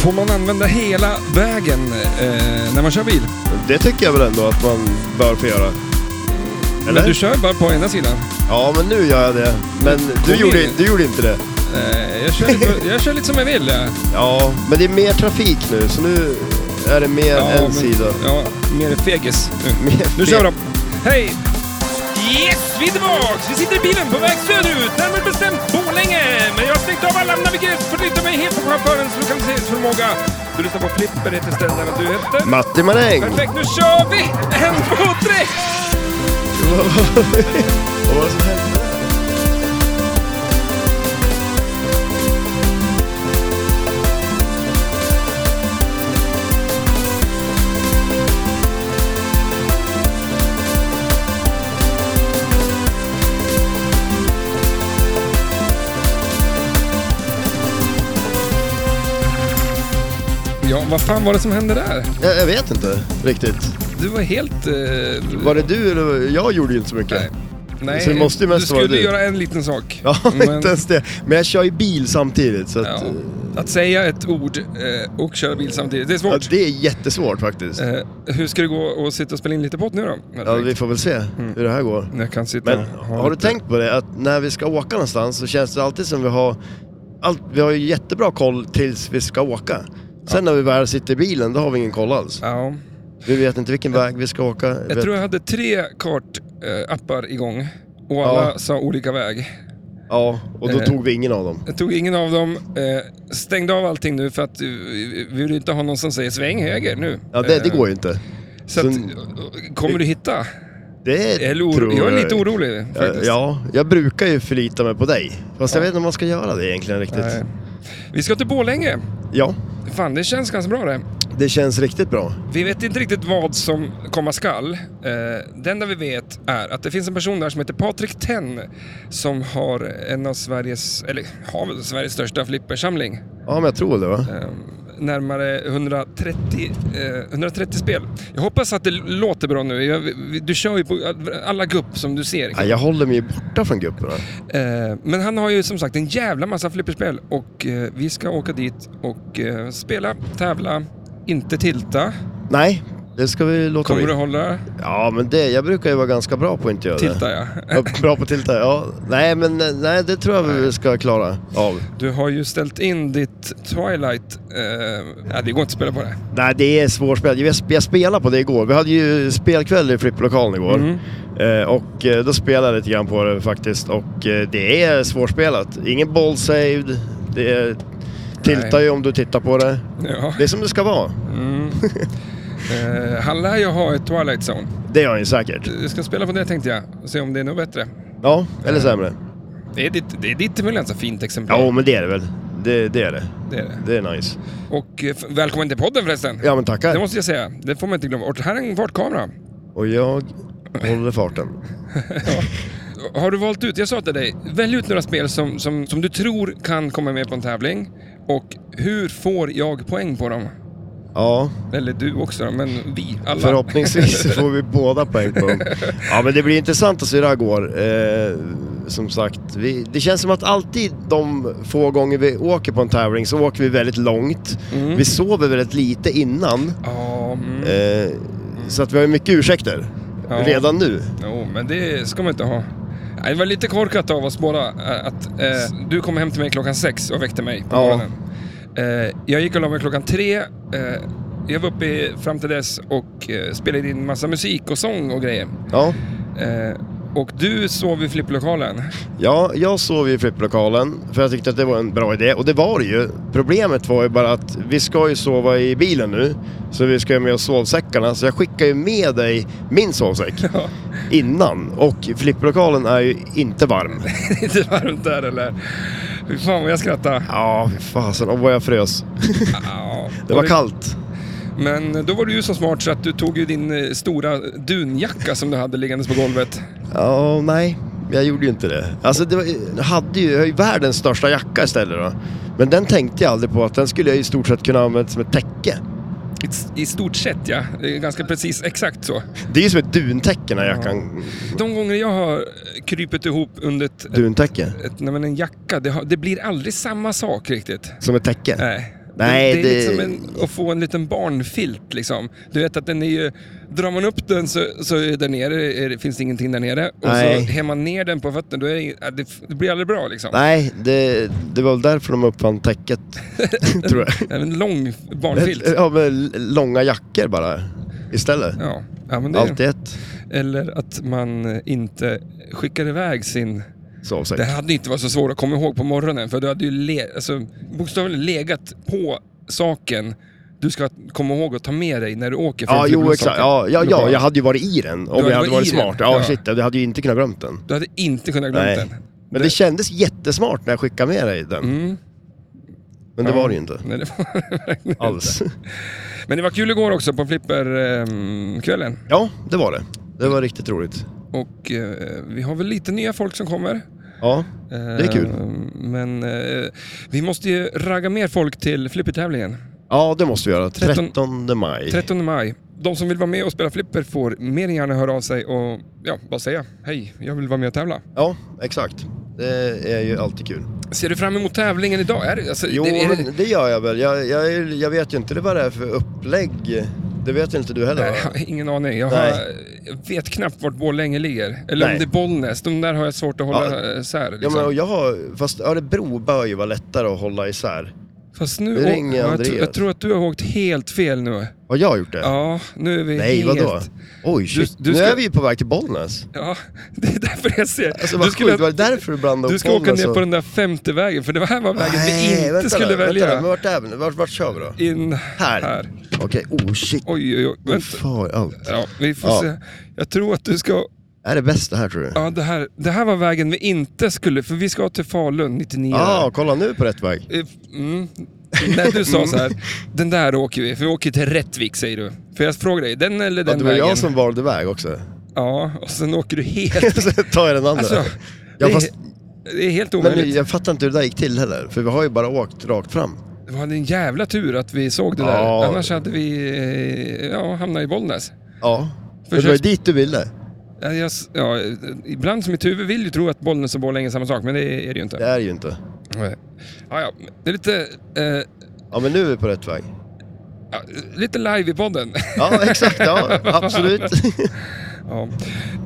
Får man använda hela vägen eh, när man kör bil? Det tycker jag väl ändå att man bör få göra. Eller? Men du kör bara på ena sidan. Ja, men nu gör jag det. Men Kom du gjorde, in. du gjorde inte det. Eh, jag, kör lite, jag kör lite som jag vill. eh. Ja. Ja, men det är mer trafik nu, så nu är det mer Ja, en men- sida. Mm, Ja, mer fegis. Nu, Mer nu kör fe- de. Hej! Yes, vi är tillbaks! Vi sitter i bilen på väg söderut, närmare bestämt Borlänge. Men jag har stängt av alla navigerare för att lita mig helt på chaufförens lokaliseringsförmåga. Du lyssnar på Flipper, heter stället där du heter. Matti Maräng! Perfekt, nu kör vi! En, två, tre! Vad var det som hände? Ja, vad fan var det som hände där? Jag, jag vet inte riktigt. Du var helt... eh, Var det du eller? Jag gjorde ju inte så mycket. Nej. Nej, Så det måste ju mest du vara skulle du. göra en liten sak. Ja, Men- inte ens det. Men jag kör ju bil samtidigt så att... ja. Ja. Att säga ett ord eh, och köra bil samtidigt, det är svårt. det är jättesvårt faktiskt. Eh, hur ska det gå att sitta och spela in lite podd nu då? Ja, vi får väl se Mm. hur det här går. Jag kan sitta Men och ha har du lite- tänkt på det? Att när vi ska åka någonstans så känns det alltid som vi har... Allt, vi har ju jättebra koll tills vi ska åka. Sen när vi väl sitter i bilen, då har vi ingen koll alls. Ja. Vi vet inte vilken väg vi ska åka. Jag vet- tror jag hade tre kartappar igång och alla Ja. sa olika väg. Ja, och då Eh. tog vi ingen av dem. Jag tog ingen av dem, eh, stängde av allting nu för att eh, vi vill ju inte ha någon som säger sväng höger nu. Ja, det, det går ju inte. Så att, så- eh, kommer du hitta? Det Eller oro... tror Eh, Jag är lite orolig faktiskt. Ja, jag brukar ju förlita mig på dig. Fast jag vet inte om man ska göra det egentligen riktigt. Nej. Vi ska till Borlänge. Ja, Fan, det känns ganska bra det. det känns riktigt bra. Vi vet inte riktigt vad som komma skall. Eh, Det enda vi vet är att det finns en person där som heter Patrik Tenn som har en av Sveriges, eller har väl Sveriges största flippersamling. Ja, men jag tror det va? Eh, Närmare 130, eh, 130 spel. Jag hoppas att det låter bra nu. Jag, vi- du kör ju på alla gupp som du ser. Ja, jag håller mig ju borta från grupperna. Eh, Men han har ju som sagt en jävla massa flipperspel och eh, vi ska åka dit och eh, spela, tävla, inte tilta. Nej, det ska vi låta Kommer bli. du hålla Ja, men det, jag brukar ju vara ganska bra på att inte göra tilta? det. Ja. Ja, Bra på att tilta, ja. Nej, men eh, nej, det tror jag vi ska klara av. Du har ju ställt in ditt Twilight... Eh, nej, det går inte att spela på det. Nej, det är svårspel. Jag, sp- jag spelade på det igår. Vi hade ju spelkväll i flipplokalen igår. Mm. Eh, och eh, då spelade jag lite grann på det faktiskt. Och eh, det är svårspelat. Ingen ball saved. Det är, tiltar Nej. ju om du tittar på det. Ja. Det är som det ska vara. Mm. eh, han lär ju ha ett Twilight Zone. Det gör han ju säkert. Jag ska spela på det tänkte jag och se om det är något bättre. Ja, Eh. eller sämre. Det är ditt, det är ditt väl ganska fint exemplar? Ja, men det är det väl. Det, det är det. Det är det. Det är nice. Och eh, f- välkommen till podden förresten. Ja, men tackar. Det måste jag säga. Det får man inte glömma bort. Här är en fartkamera. Och jag håller farten. Har du valt ut, jag sa till dig, välj ut några spel som, som, som du tror kan komma med på en tävling. Och hur får jag poäng på dem? Ja, Eller du också då, men vi alla. Förhoppningsvis så får vi båda poäng på dem. Ja men det blir intressant att se hur det här går. Eh, som sagt, vi, det känns som att alltid de få gånger vi åker på en tävling så åker vi väldigt långt. Vi sover väldigt lite innan. Ja, mm. Eh, så att vi har ju mycket ursäkter. Ja. Redan nu. Jo, men det ska man inte ha. Nej, Det var lite korkat av oss båda eh, att eh, du kom hem till mig klockan sex och väckte mig på Ja. morgonen. Eh, jag gick och la mig klockan tre. Eh, jag var uppe i- fram till dess och eh, spelade in massa musik och sång och grejer. Ja, Eh, och du sov i flipplokalen. ja jag sov i flipplokalen för jag tyckte att det var en bra idé. Och det var det ju. Problemet var ju bara att vi ska ju sova i bilen nu. Så vi ska ju med oss sovsäckarna. Så jag skickar ju med dig min sovsäck. Ja, innan och flipplokalen är ju inte varm. det är inte varmt där eller? Fy fan vad jag skrattade. Ja, fy fasen. Och vad jag frös. Ja. Det var kallt. Men då var du ju så smart så att du tog ju din eh, stora dunjacka som du hade liggandes på golvet. Ja, nej. Jag gjorde ju inte det. Alltså, det var, jag hade ju, jag har ju världens största jacka istället då. Men den tänkte jag aldrig på att den skulle jag i stort sett kunna använda som ett täcke. I- I stort sett ja, det är ganska precis exakt så. Det är ju som ett duntäcke när jackan... De gånger jag har krypit ihop under ett, Duntäcke? ett, nej, men en jacka, det, har, det blir aldrig samma sak riktigt. Som ett täcke? Nej. Nej, det, det är det- liksom en, att få en liten barnfilt liksom. Du vet att den är ju, drar man upp den så, så är där nere, är, det- finns det ingenting där nere. Och Nej. så hämmer man ner den på fötterna, då är det, ing- ja, det, det blir aldrig bra liksom. Nej, det, det var väl därför de uppfann täcket. tror jag. En lång barnfilt. Ja, med l- långa jackor bara istället. Ja. Ja, men det Allt i ett. Eller att man inte skickar iväg sin... Sovsäck. Det hade inte varit så svårt att komma ihåg på morgonen för du hade ju le... alltså, bokstavligen legat på saken du ska komma ihåg att ta med dig när du åker. för Ja, att jo glömma exakt. saker. Ja, ja, ja, Lokalt. jag hade ju varit i den om hade jag hade varit varit i den. smart. Ja, Ja. shit, jag hade ju inte kunnat glömt den. Du hade inte kunnat glömma Nej. den. Men det kändes jättesmart när jag skickade med dig den. Mm. Men det Ja. var det ju inte Nej, det var... alls. Men det var kul igår också på ehm, flipperkvällen. Ja, det var det. Det var riktigt roligt. och eh, vi har väl lite nya folk som kommer. Ehm, Ja, det är kul. Men eh, vi måste ju ragga mer folk till flippertävlingen. Ja, det måste vi göra. 13 13 maj. 13 maj. De som vill vara med och spela flipper får mer än gärna höra av sig och ja, bara säga hej, jag vill vara med och tävla. Ja, exakt. Det är ju alltid kul. Ser du fram emot tävlingen idag? Är det, alltså, Jo, det, är det, men det gör jag väl. Jag, jag, är- jag vet ju inte det vad det är för upplägg. Det vet inte du heller Nej, va? jag har ingen aning. Jag, har, Nej. jag vet knappt vart Borlänge ligger. Eller om Nej. det är Bollnäs. De där har jag svårt att hålla Ja. isär. Liksom. Ja, men och jag har, fast Örebro bör ju vara lättare att hålla isär. Fast nu... det ringer jag, Andreas. tr- jag tror att du har åkt helt fel nu. Har jag gjort det? Ja, nu är vi Nej, helt... vadå? Oj, shit. Du- du Nu ska- är vi ju på väg till Bollnäs. Ja, det är därför jag ser. Alltså vad sjukt, var det därför du blandade du upp ska åka Bollnäs ner och- på den där femte vägen, för det här var vägen vi Nej, inte vänta skulle nu, välja. Vänta, nu, men vart är vi nu? Vart, vart kör vi då? In Här. här. Okej, oh shit. Oj, oj, oj. Oh, Vänta. far, allt. Ja, vi får Ja. se. Jag tror att du ska... Är det bäst det här tror du? Ja, Ja, det här, det här var vägen vi inte skulle... För vi ska till Falun 99. ah, kolla nu är vi på rätt väg. Eh, Mm. När du sa så här, den där åker vi, för vi åker till Rättvik säger du. För jag frågade dig, den eller Ja, den det var vägen? jag som valde väg också. Ja, och sen åker du helt... Så tar jag den andra. Alltså, ja, det, fast, är, det är helt men omöjligt. jag fattar inte hur det där gick till heller, för vi har ju bara åkt rakt fram. Det var en jävla tur att vi såg det där. Ja. Annars hade vi eh, ja, hamnat i Bollnäs. Ja. Men det var ju Försök- dit du ville. Ja, jag, s- ja, eh, ibland som mitt huvud vill ju tro att Bollnäs och Borlänge är samma sak, men det är det ju Det inte. är ju inte. Nej. Ja, ja, det är lite, eh, Ja, men nu är vi på rätt väg. ja, lite live i podden. Ja, exakt. Ja, absolut. ja.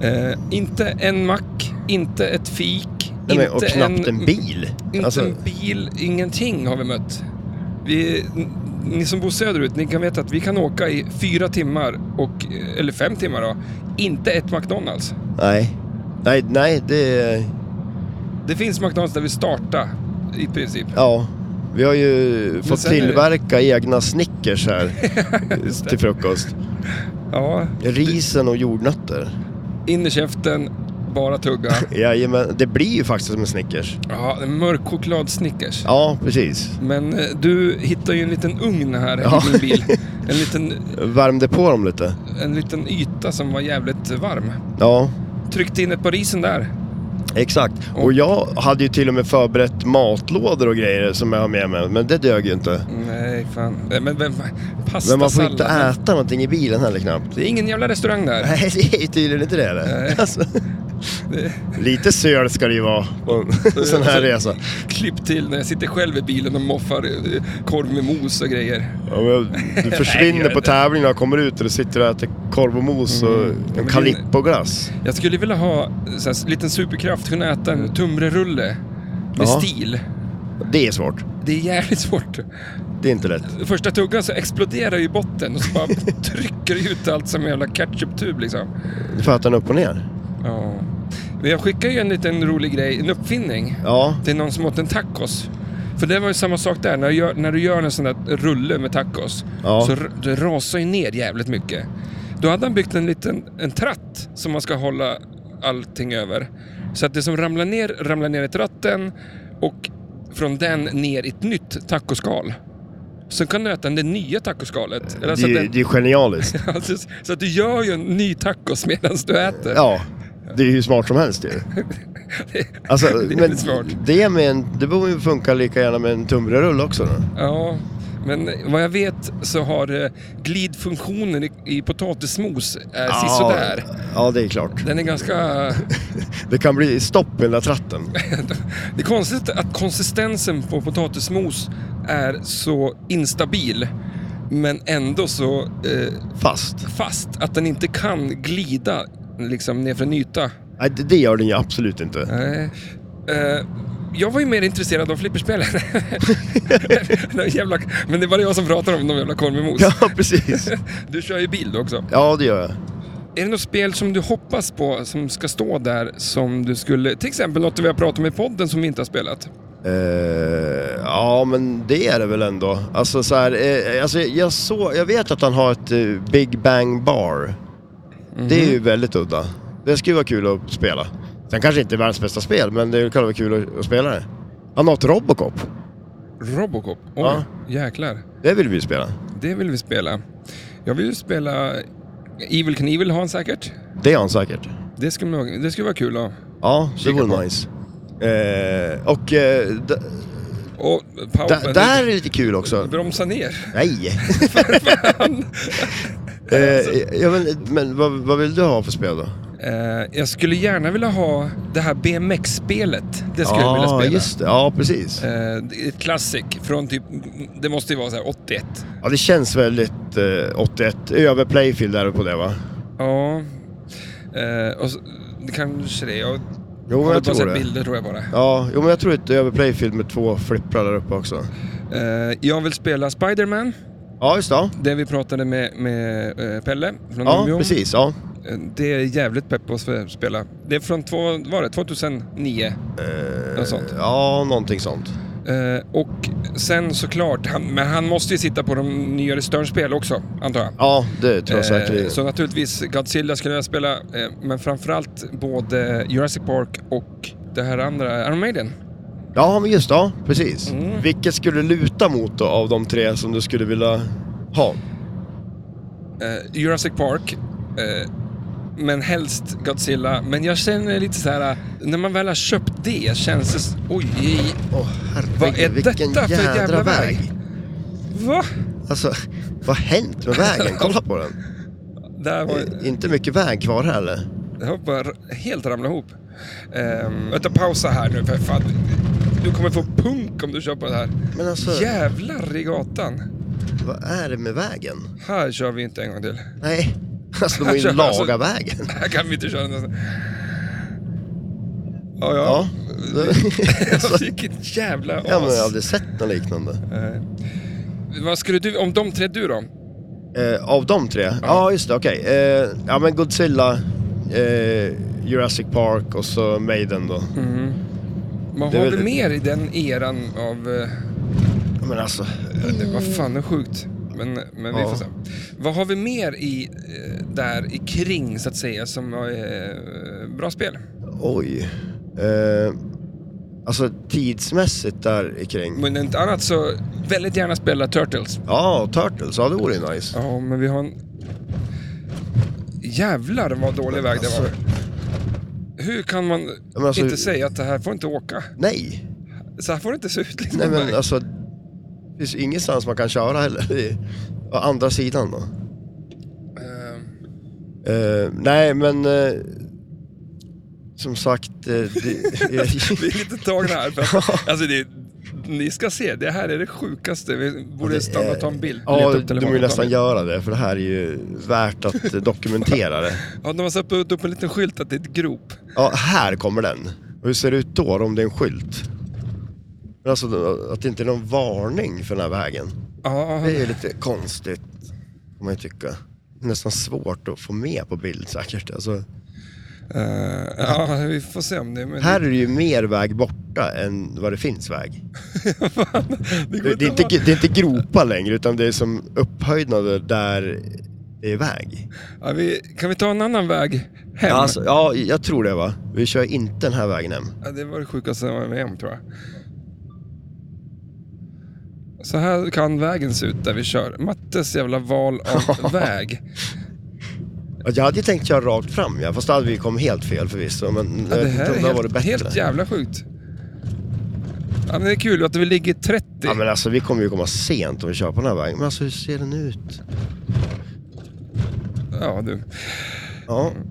eh, inte en mack, inte ett fik, Nej, men, inte, och knappt en bil. inte Alltså, en bil, ingenting har vi mött. Vi, n- ni som bor söderut, ni kan veta att vi kan åka i fyra timmar, och, eller fem timmar då, inte ett McDonalds. nej. Nej, nej, det är... Det finns McDonalds där vi startar i princip. Ja. Vi har ju fått sen är det- tillverka egna Snickers här till frukost. Ja, Risen och jordnötter. in i käften, bara tugga. Jajamän, det blir ju faktiskt som en Snickers. Ja, en mörk choklad Snickers. Ja, precis. Men eh, du hittar ju en liten ugn här Ja. i min bil. En liten, Värmde på dem lite. en liten yta som var jävligt varm. Ja, Tryckte in ett par risen där. exakt. Och Och- jag hade ju till och med förberett matlådor och grejer som jag har med mig, men det dög ju inte. Nej, fan. Nej, Men vem... Pasta Men man får inte sallad. äta någonting i bilen heller knappt. Det är ingen jävla restaurang där. Nej, det är ju tydligen inte det eller? Nej. Alltså, Det- lite söl ska det ju vara på en sån här resa. Klipp till när jag sitter själv i bilen och moffar eh, korv med mos och grejer. Ja, men du Nej, gör försvinner på inte. tävlingen och kommer ut och du sitter och äter korv och mos och en men det- calippoglass. Jag skulle vilja ha en liten superkraft, kunna äta en tunnbrödsrulle med Ja. stil. Det är svårt. Det är jävligt svårt. Det är inte lätt. Första tuggan så exploderar ju botten och så bara trycker det ut allt som en jävla ketchuptub liksom. Du får äta den upp och ner. Ja. Men jag skickade ju en liten rolig grej, en uppfinning. Ja, Det är någon som åt en tacos. För det var ju samma sak där, när du gör, när du gör en sån där rulle med tacos Ja. så r- det rasar ju ner jävligt mycket. Då hade han byggt en liten en tratt som man ska hålla allting över. Så att det som ramlar ner, ramlar ner i tratten och från den ner i ett nytt tacoskal. Sen kan du äta det nya tacoskalet. Eller det så, att är ju den, det är ju genialiskt. alltså, så att du gör ju en ny tacos medan du äter. Ja, det är ju hur smart som helst ju. Alltså, Det är men smart. det, med en, det borde ju funka lika gärna med en tunnbrödsrulle också. Då. Ja, Men vad jag vet så har eh, glidfunktionen i, i potatismos är Ja, sisådär. Ja, det är klart. Den är ganska... Det kan bli stopp i den där tratten. Det är konstigt att konsistensen på potatismos är så instabil. Men ändå så eh, Fast. fast att den inte kan glida liksom ner för en yta. Nej, det det gör den ju absolut inte. Nej. Eh, jag var ju mer intresserad av flipperspelen. De jävla, men det var jag som pratade om de jävla korvmos. Ja, precis. Du kör ju bil också. Ja, det gör jag. Är det något spel som du hoppas på som ska stå där som du skulle... Till exempel något vi har pratat om i podden som vi inte har spelat. Eh, ja, men det är det väl ändå. Alltså så här, eh, alltså, jag, så, jag vet att han har ett eh, Big Bang Bar. Det är ju väldigt udda. Det skulle vara kul att spela. Sen kanske inte världens bästa spel, men det kan vara kul att, att spela det. Han har ett Robocop. Robocop. Oj, Ja. jäklar. Det vill vi ju spela. Det vill vi spela. Jag vill ju spela... Evil Knievel har han säkert. Det har han säkert. Det skulle, nog- det skulle vara kul att... Ja, det Kika på. vore nice. Eh, och eh, d- Och d- Power... där är det lite kul också. Bromsa ner. Nej! eh, ja, men men vad, vad vill du ha för spel då? Eh, jag skulle gärna vilja ha det här BMX-spelet. Det skulle jag vilja spela. just det. Ja, precis. Eh, det är ett classic från typ... Det måste ju vara så här 81. Ja, det känns väldigt eh, 81. Över Playfield är det på det va? Ja. Eh, och så, det kanske det är. Jag Jo, har men jag bara tror sett det. bilder tror jag bara. Ja, jo, men jag tror det är ett över Playfield med två flipprar där uppe också. Eh, jag vill spela Spiderman. Ja, just det. ja. Det vi pratade med, med eh, Pelle från Ja, Umeå. precis. Ja. Eh, Det är jävligt pepp på att spela. Det är från två, vad var det, 2009. Eh, Något sånt. Ja, någonting sånt. Eh, och sen såklart, han, men han måste ju sitta på de nyare Stern-spel också, antar jag. Ja, det tror jag Eh, säkert. så naturligtvis Godzilla skulle jag spela, eh, men framförallt både Jurassic Park och det här andra, Iron Maiden. Ja, men just det. Ja, precis. Mm. Vilket skulle du luta mot då, av de tre som du skulle vilja ha? eh, Jurassic Park. Eh, men helst Godzilla. Men jag känner lite så här, eh, när man väl har köpt det känns det... s- Oj, oj, Åh, Vad är herregud, detta för jävla väg? va? Alltså, vad har hänt med vägen? Kolla på den. Där var Det är Inte mycket väg kvar här eller? jag bara r- helt ramla ihop. Eh, vänta, pausa här nu för fan. Du kommer få punk om du köper det här. Men alltså, Jävlar i gatan. vad är det med vägen? Här kör vi inte en gång till. Nej, alltså de har ju Alltså, alltså- laga vägen. Här kan vi inte köra nästan. Ja, ja. Ja. Alltså, Vilket jävla as. Ja, men jag har aldrig sett något liknande. Eh, vad skulle du, om de tre du då? Eh, av de tre? Ja, just det, okej. Eh, ja, men Godzilla, eh, Jurassic Park och så Maiden då. Vad Det är har vi väl- mer i den eran av... eh, Ja, Men alltså, det- Vad fan, det är sjukt. Men, men vi Ja. får se. Vad har vi mer i eh, där i kring så att säga som är bra spel? oj. Eh, alltså tidsmässigt där kring. Men inte annat så väldigt gärna spela Turtles. Ja, Turtles, ja det vore ju nice. Ja, men vi har en... Jävlar vad dålig väg det var. Alltså. Hur kan man men alltså- inte säga att det här får inte åka? Nej, Så här får det inte se ut liksom. nej men alltså. Det finns ju ingenstans man kan köra heller. Det är- Å andra sidan då. Eh, Eh, nej, men... eh, som sagt... eh, det, Vi är lite tagna här. För att, alltså det, ni ska se, det här är det sjukaste. Vi borde stanna och ta en bild. Ja, Leta upp du telefonen vill och ta en nästan bild. göra det, för det här är ju värt att eh, dokumentera det. Ja, de har satt upp upp en liten skylt att det är ett grop. Ja, här kommer den. Och hur ser det ut då, om det är en skylt? Men Alltså att det inte är någon varning för den här vägen. Ja, Det är ju lite konstigt, kan man ju tycka. Det är nästan svårt att få med på bild säkert. Alltså, eh, ja, vi får se om det... Men här är det ju mer väg borta än vad det finns väg. det, går Det, det, är, inte inte, att det är inte gropa längre, utan det är som upphöjdnader där det är väg. ha- ja, vi, kan vi ta en annan väg hem? Ja, alltså, ja, jag tror det va. Vi kör inte den här vägen hem. Ja, det var det sjukaste jag var med om, tror jag. Så här kan vägen se ut där vi kör. Mattes jävla val av väg. Ja, Alltså, Jag hade ju tänkt köra rakt fram, ja. fast då hade vi kommit helt fel förvisso. Men Ja, eh, jag det vet här inte är om det hade helt, varit bättre. helt jävla sjukt. Ja, men det är kul att vi ligger 30. Ja, men alltså, vi kommer ju komma sent om vi kör på den här vägen. Men alltså hur ser den ut? Ja, du. Ja, Mm.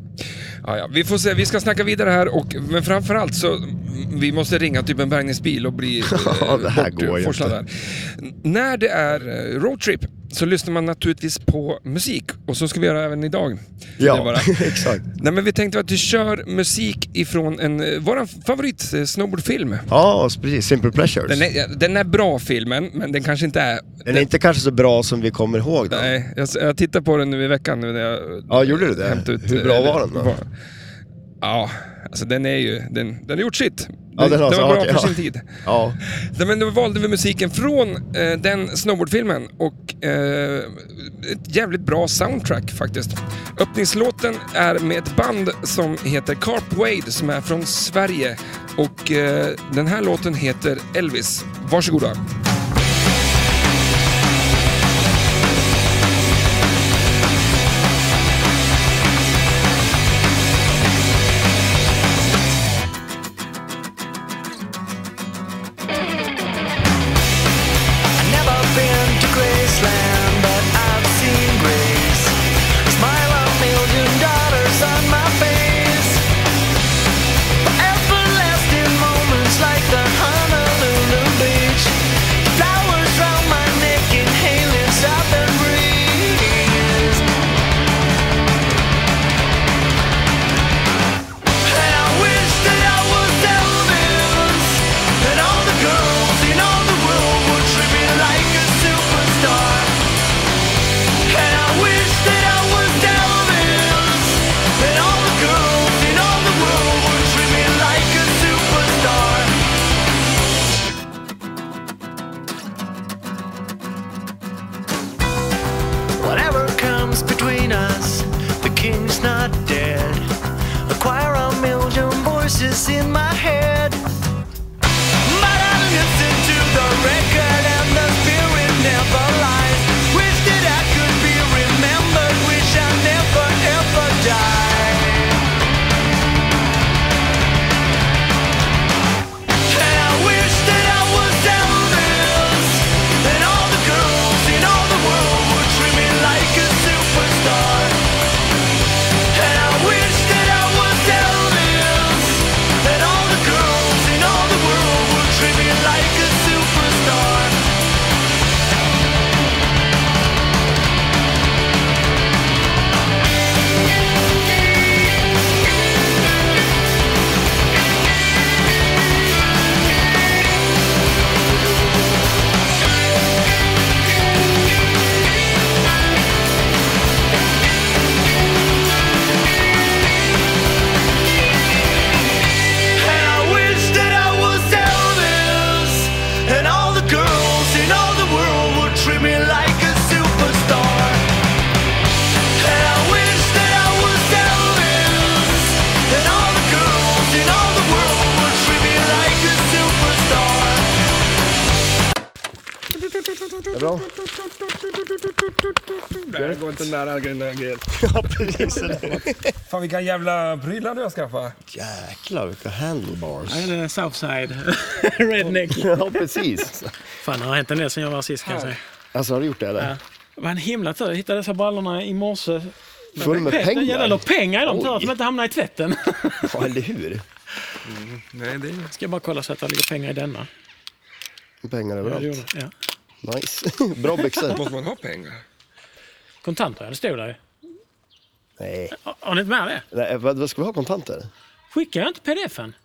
Ja, ja. Vi får se, vi ska snacka vidare här och, men framförallt så vi måste ringa typ en bärgningsbil och bli Ja, det här går ju bortforslad inte. där. N- När det är eh, roadtrip så lyssnar man naturligtvis på musik och så ska vi göra även idag. Det är ja bara- exakt. Nej men vi tänkte att vi kör musik ifrån en, eh, våran favorit eh, snowboardfilm. Ja, och precis. Simple Pleasures. Den är, ja, den är bra filmen, men den kanske inte är... Den är inte kanske så bra som vi kommer ihåg den. Nej, jag, jag tittade på den nu i veckan nu när jag Ja, gjorde du det? hämtade ut... Hur bra eller- var den då? var- Ja, alltså den är ju... Den, den har gjort sitt. Ja, den har- var bra okej, för ja. sin tid. Ja, Nej, men då valde vi musiken från eh, den snowboardfilmen och eh, ett jävligt bra soundtrack faktiskt. Öppningslåten är med ett band som heter Carp Wade som är från Sverige och eh, den här låten heter Elvis. Varsågoda. I've never been to Graceland, but I've seen Grace. A smile of million dollars on my face. Everlasting moments like the Honolulu beach. Flowers round my neck inhaling southern breeze. And I wish that I was Elvis, and all the girls in all the world would treat me like a superstar. And I wish that I was Elvis, and all the girls in all the world would treat me like a superstar. Whatever comes between us, the king's not dead. A choir of million voices in my head. But I listen to the record and the spirit never lies. Wish that I could be remembered, wish I never ever died. And I wish that I was Elvis, and all the girls in all the world would treat me like a superstar. And I wish that I was Elvis, and all the girls in all the world would treat me like a superstar. And I wish that I was Elvis, and all the girls in all the world would treat me like a superstar. And I wish that I was Elvis, and all the girls in all the world would treat me like a superstar. det är bra. Det går inte nära grejen. Ja, precis. Fan vilka jävla prylar du har skaffat. Jäklar vilka handlebars. Nej, det är Southside Redneck. Ja, precis. Fan, det har hänt en del sen jag var sist kan jag säga. Alltså har du gjort det eller? Ja. Det var en himla tur. Jag hittade dessa brallorna i morse. Full med pengar? Jävlar, det låg pengar i dem. Tur att de Oj. inte hamnade i tvätten. Ja, eller hur? Nej, det är... Ska jag bara kolla så att det ligger pengar i denna. Pengar Ja, det gjorde överallt. det. Ja. Nice. Bra byxor. Måste man ha pengar? Kontanter, ja, det stod där. Nej. Har- Har ni inte med det? Nej, vad, vad ska vi ha kontanter? Skickar jag inte pdf-en?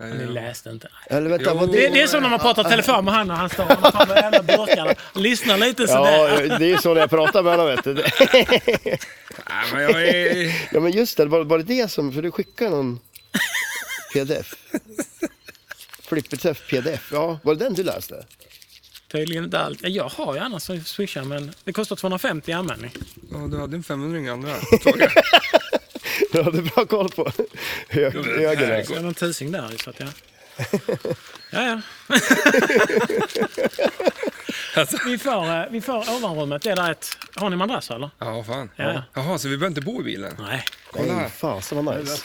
Nej, Ni läste inte. Eller vänta, Jo. vad Det, det är som när man pratar telefon med han och han står och håller fram med alla burkarna. Lyssnar lite Ja, sådär. det är ju så när jag pratar med honom vet du. Nej, men jag är... Ja men just det, var, var det det som, för du skickade någon pdf? Flipperträff pdf, ja. Var det den du läste? Tydligen inte allt. Ja, Jag har ju annars som swishar men det kostar 250 i användning. Ja, du hade en 500 i andra. Du hade bra koll på Hög, höger där. Det är någon tusing där ju, så att ja. Ja, ja. Alltså. Vi får, eh, vi får ovanrummet. Det är där ett... Har ni madrass eller? Ja, fan. Ja. Jaha, så vi behöver inte bo i bilen? Nej. Kolla. Nej, fasen vad nice.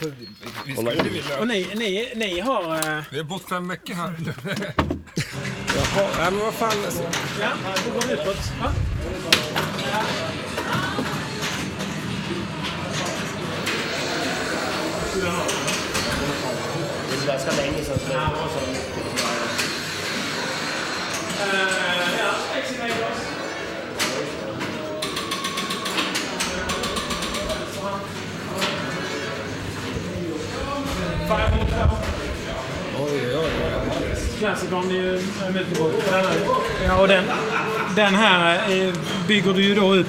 Vi skulle vilja... Och ni, ni, ni har... eh, Vi har bott fem veckor här. Ja, men vad fan. alltså. Ja, då går vi utåt. Va? Klassikern är ju en väldigt bra Ja, och den, den här eh, bygger du ju då upp.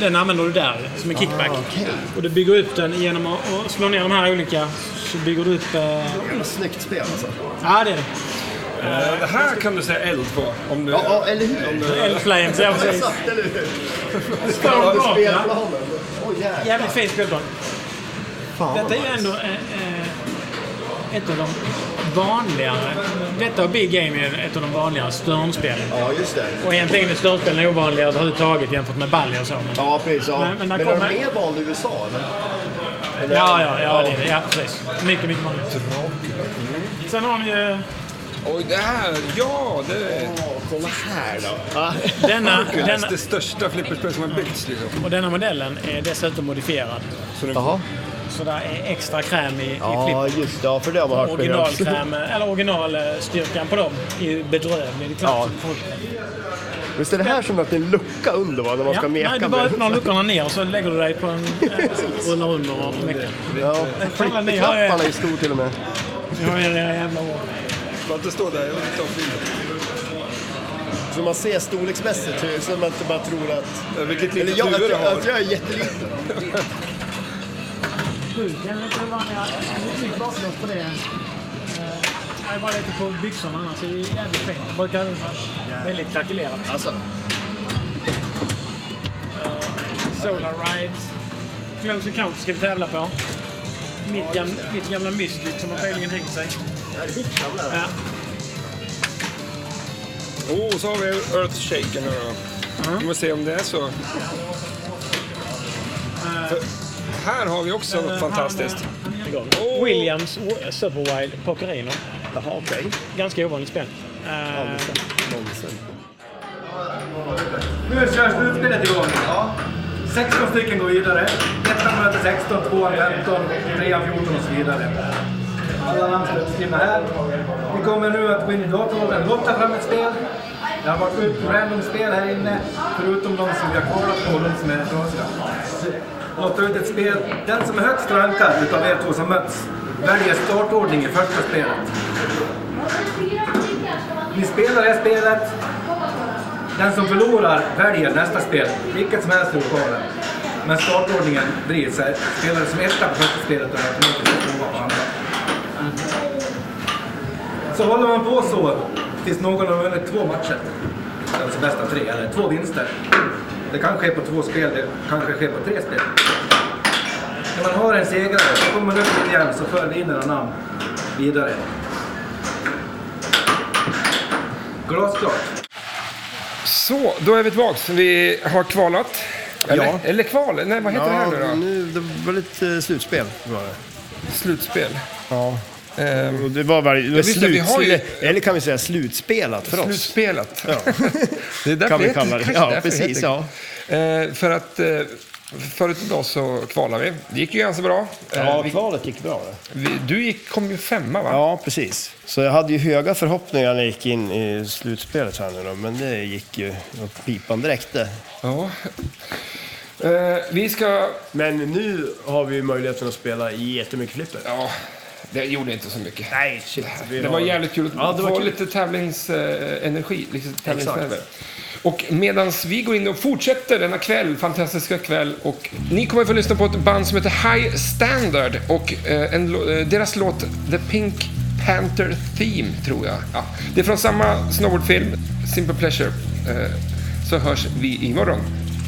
Den använder du där som en kickback. Ah, Och du bygger upp den genom att att slå ner de här olika. Så bygger du upp... Eh, Snyggt spel alltså. ja, det är det. Det här kan du säga eld på. Om du, Ja, ja eller hur? Eldflames, ja Jag precis. satt, eller hur? Står Över bra. ja. spelplanen. Åh jävlar. Jävligt fin spelplan. Fan, vad Detta är ju nice. ändå eh, eh, ett av de vanligare. Detta och Big Game är ett av de vanligare störnspelen. Ja, just det. Och egentligen är störnspelen ovanliga överhuvudtaget jämfört med balja och så. Men, Ja, precis. Ja. Men- Men, men där har de kommer- mer val i USA, eller? eller? ja, ja, ja, det är det. Ja, precis. Mycket, mycket vanligare. Sen har ni ju oj, det här. Ja, det är Åh, kolla här då. denna, Hercules, denna. det största flipperspel som har byggts. Liksom. Och denna modellen är dessutom modifierad. Jaha. Så där är extra kräm i, i Ja, flippen. just det. Ja, för det har man hört behövs. Originalkräm, eller originalstyrkan på dem är ju bedrövlig. Det är klart Ja. som folk- Visst är det här som att det är en lucka under va, när man ska meka nej, du bara öppnar luckorna ner och så lägger du dig på en... eh, rullar under och mekar. Ja, Kolla, ni har ju- flipperknapparna är stor till och med. Ni har ju era jävla år. Låt det stå där. Jag vill inte ha film. Så man ser storleksmässigt, hur- så man inte bara tror att... Eh, Vilket Eller litet jag, huvud att, du jag, har. att jag är jätteliten. Sjuken lite vanliga... Snyggt baslås på det. Eh, Jag var lite på byxorna annars. Det är jävligt fint. Brukar väldigt kalkylerat. Alltså, Solar Rides. Close Encounter ska vi tävla på. Mitt gamla, mitt gamla Mystic som har tydligen hängt sig. Ja. Oh, så har vi Earthshaken nu då. Vi får se om det är så. För här har vi också Eh, något fantastiskt. Oh. Williams Wo- Superwild Pokerino. jaha okej. Ganska ovanligt spel. Eh, Nu kör slutspelet igång. Ja. 16 stycken går vidare. Ettan möter 16, tvåan 15, trean 14 och så vidare. Alla namn står uppskrivna här. Vi kommer nu att gå in i datorn och lotta fram ett spel. Det har varit ut random spel här inne, förutom de som vi har kollat på och de som är trasiga. Lotta ut ett spel. Den som är högst rankad utav er två som möts väljer startordning i första spelet. Ni spelar det här spelet, den som förlorar väljer nästa spel, vilket som helst i lokalen. Men startordningen blir så här, spelare som etta på första spelet och automatiskt tvåa på andra. Så håller man på så tills någon har vunnit två matcher. Alltså bästa tre, eller två vinster. Det kan ske på två spel, det kanske sker på tre spel. När man har en segrare så kommer man upp lite igen så för vi in era namn vidare. Glasklart. Så, då är vi tillbaks. Vi har kvalat. Eller, Ja. eller kval? Nej, vad heter det här Ja, nu då? nu, det var lite eh, slutspel. Var det. Slutspel. Ja. Ehm, Och det var väl det var visst, vi har ju- sluts- Eller kan vi säga slutspelat för oss? Slutspelet. Ja. Det är därför Kan vi det heter- kalla det. kanske Ja, därför precis, heter det. Eh, för att eh, förut idag så kvalade vi. Det gick ju ganska bra. Eh, Ja, kvalet gick bra. Det. vi, du gick, kom ju femma va? Ja, precis. Så jag hade ju höga förhoppningar när jag gick in i slutspelet här nu då, men det gick ju åt pipan direkt det. Ja. Eh, vi ska... Men nu har vi ju möjligheten att spela jättemycket flipper. Ja, det gjorde inte så mycket. Nej, shit. vi Det har- var jävligt kul att Ja, det var få kul. lite tävlingsenergi. Liksom tävlingsnerver. och medan vi går in och fortsätter denna kväll, fantastiska kväll, och ni kommer få lyssna på ett band som heter High Standard och eh, en, lå- eh, deras låt The Pink Panther Theme, tror jag. Ja. Det är från samma snowboardfilm, Simple Pleasure. Eh, så hörs vi imorgon.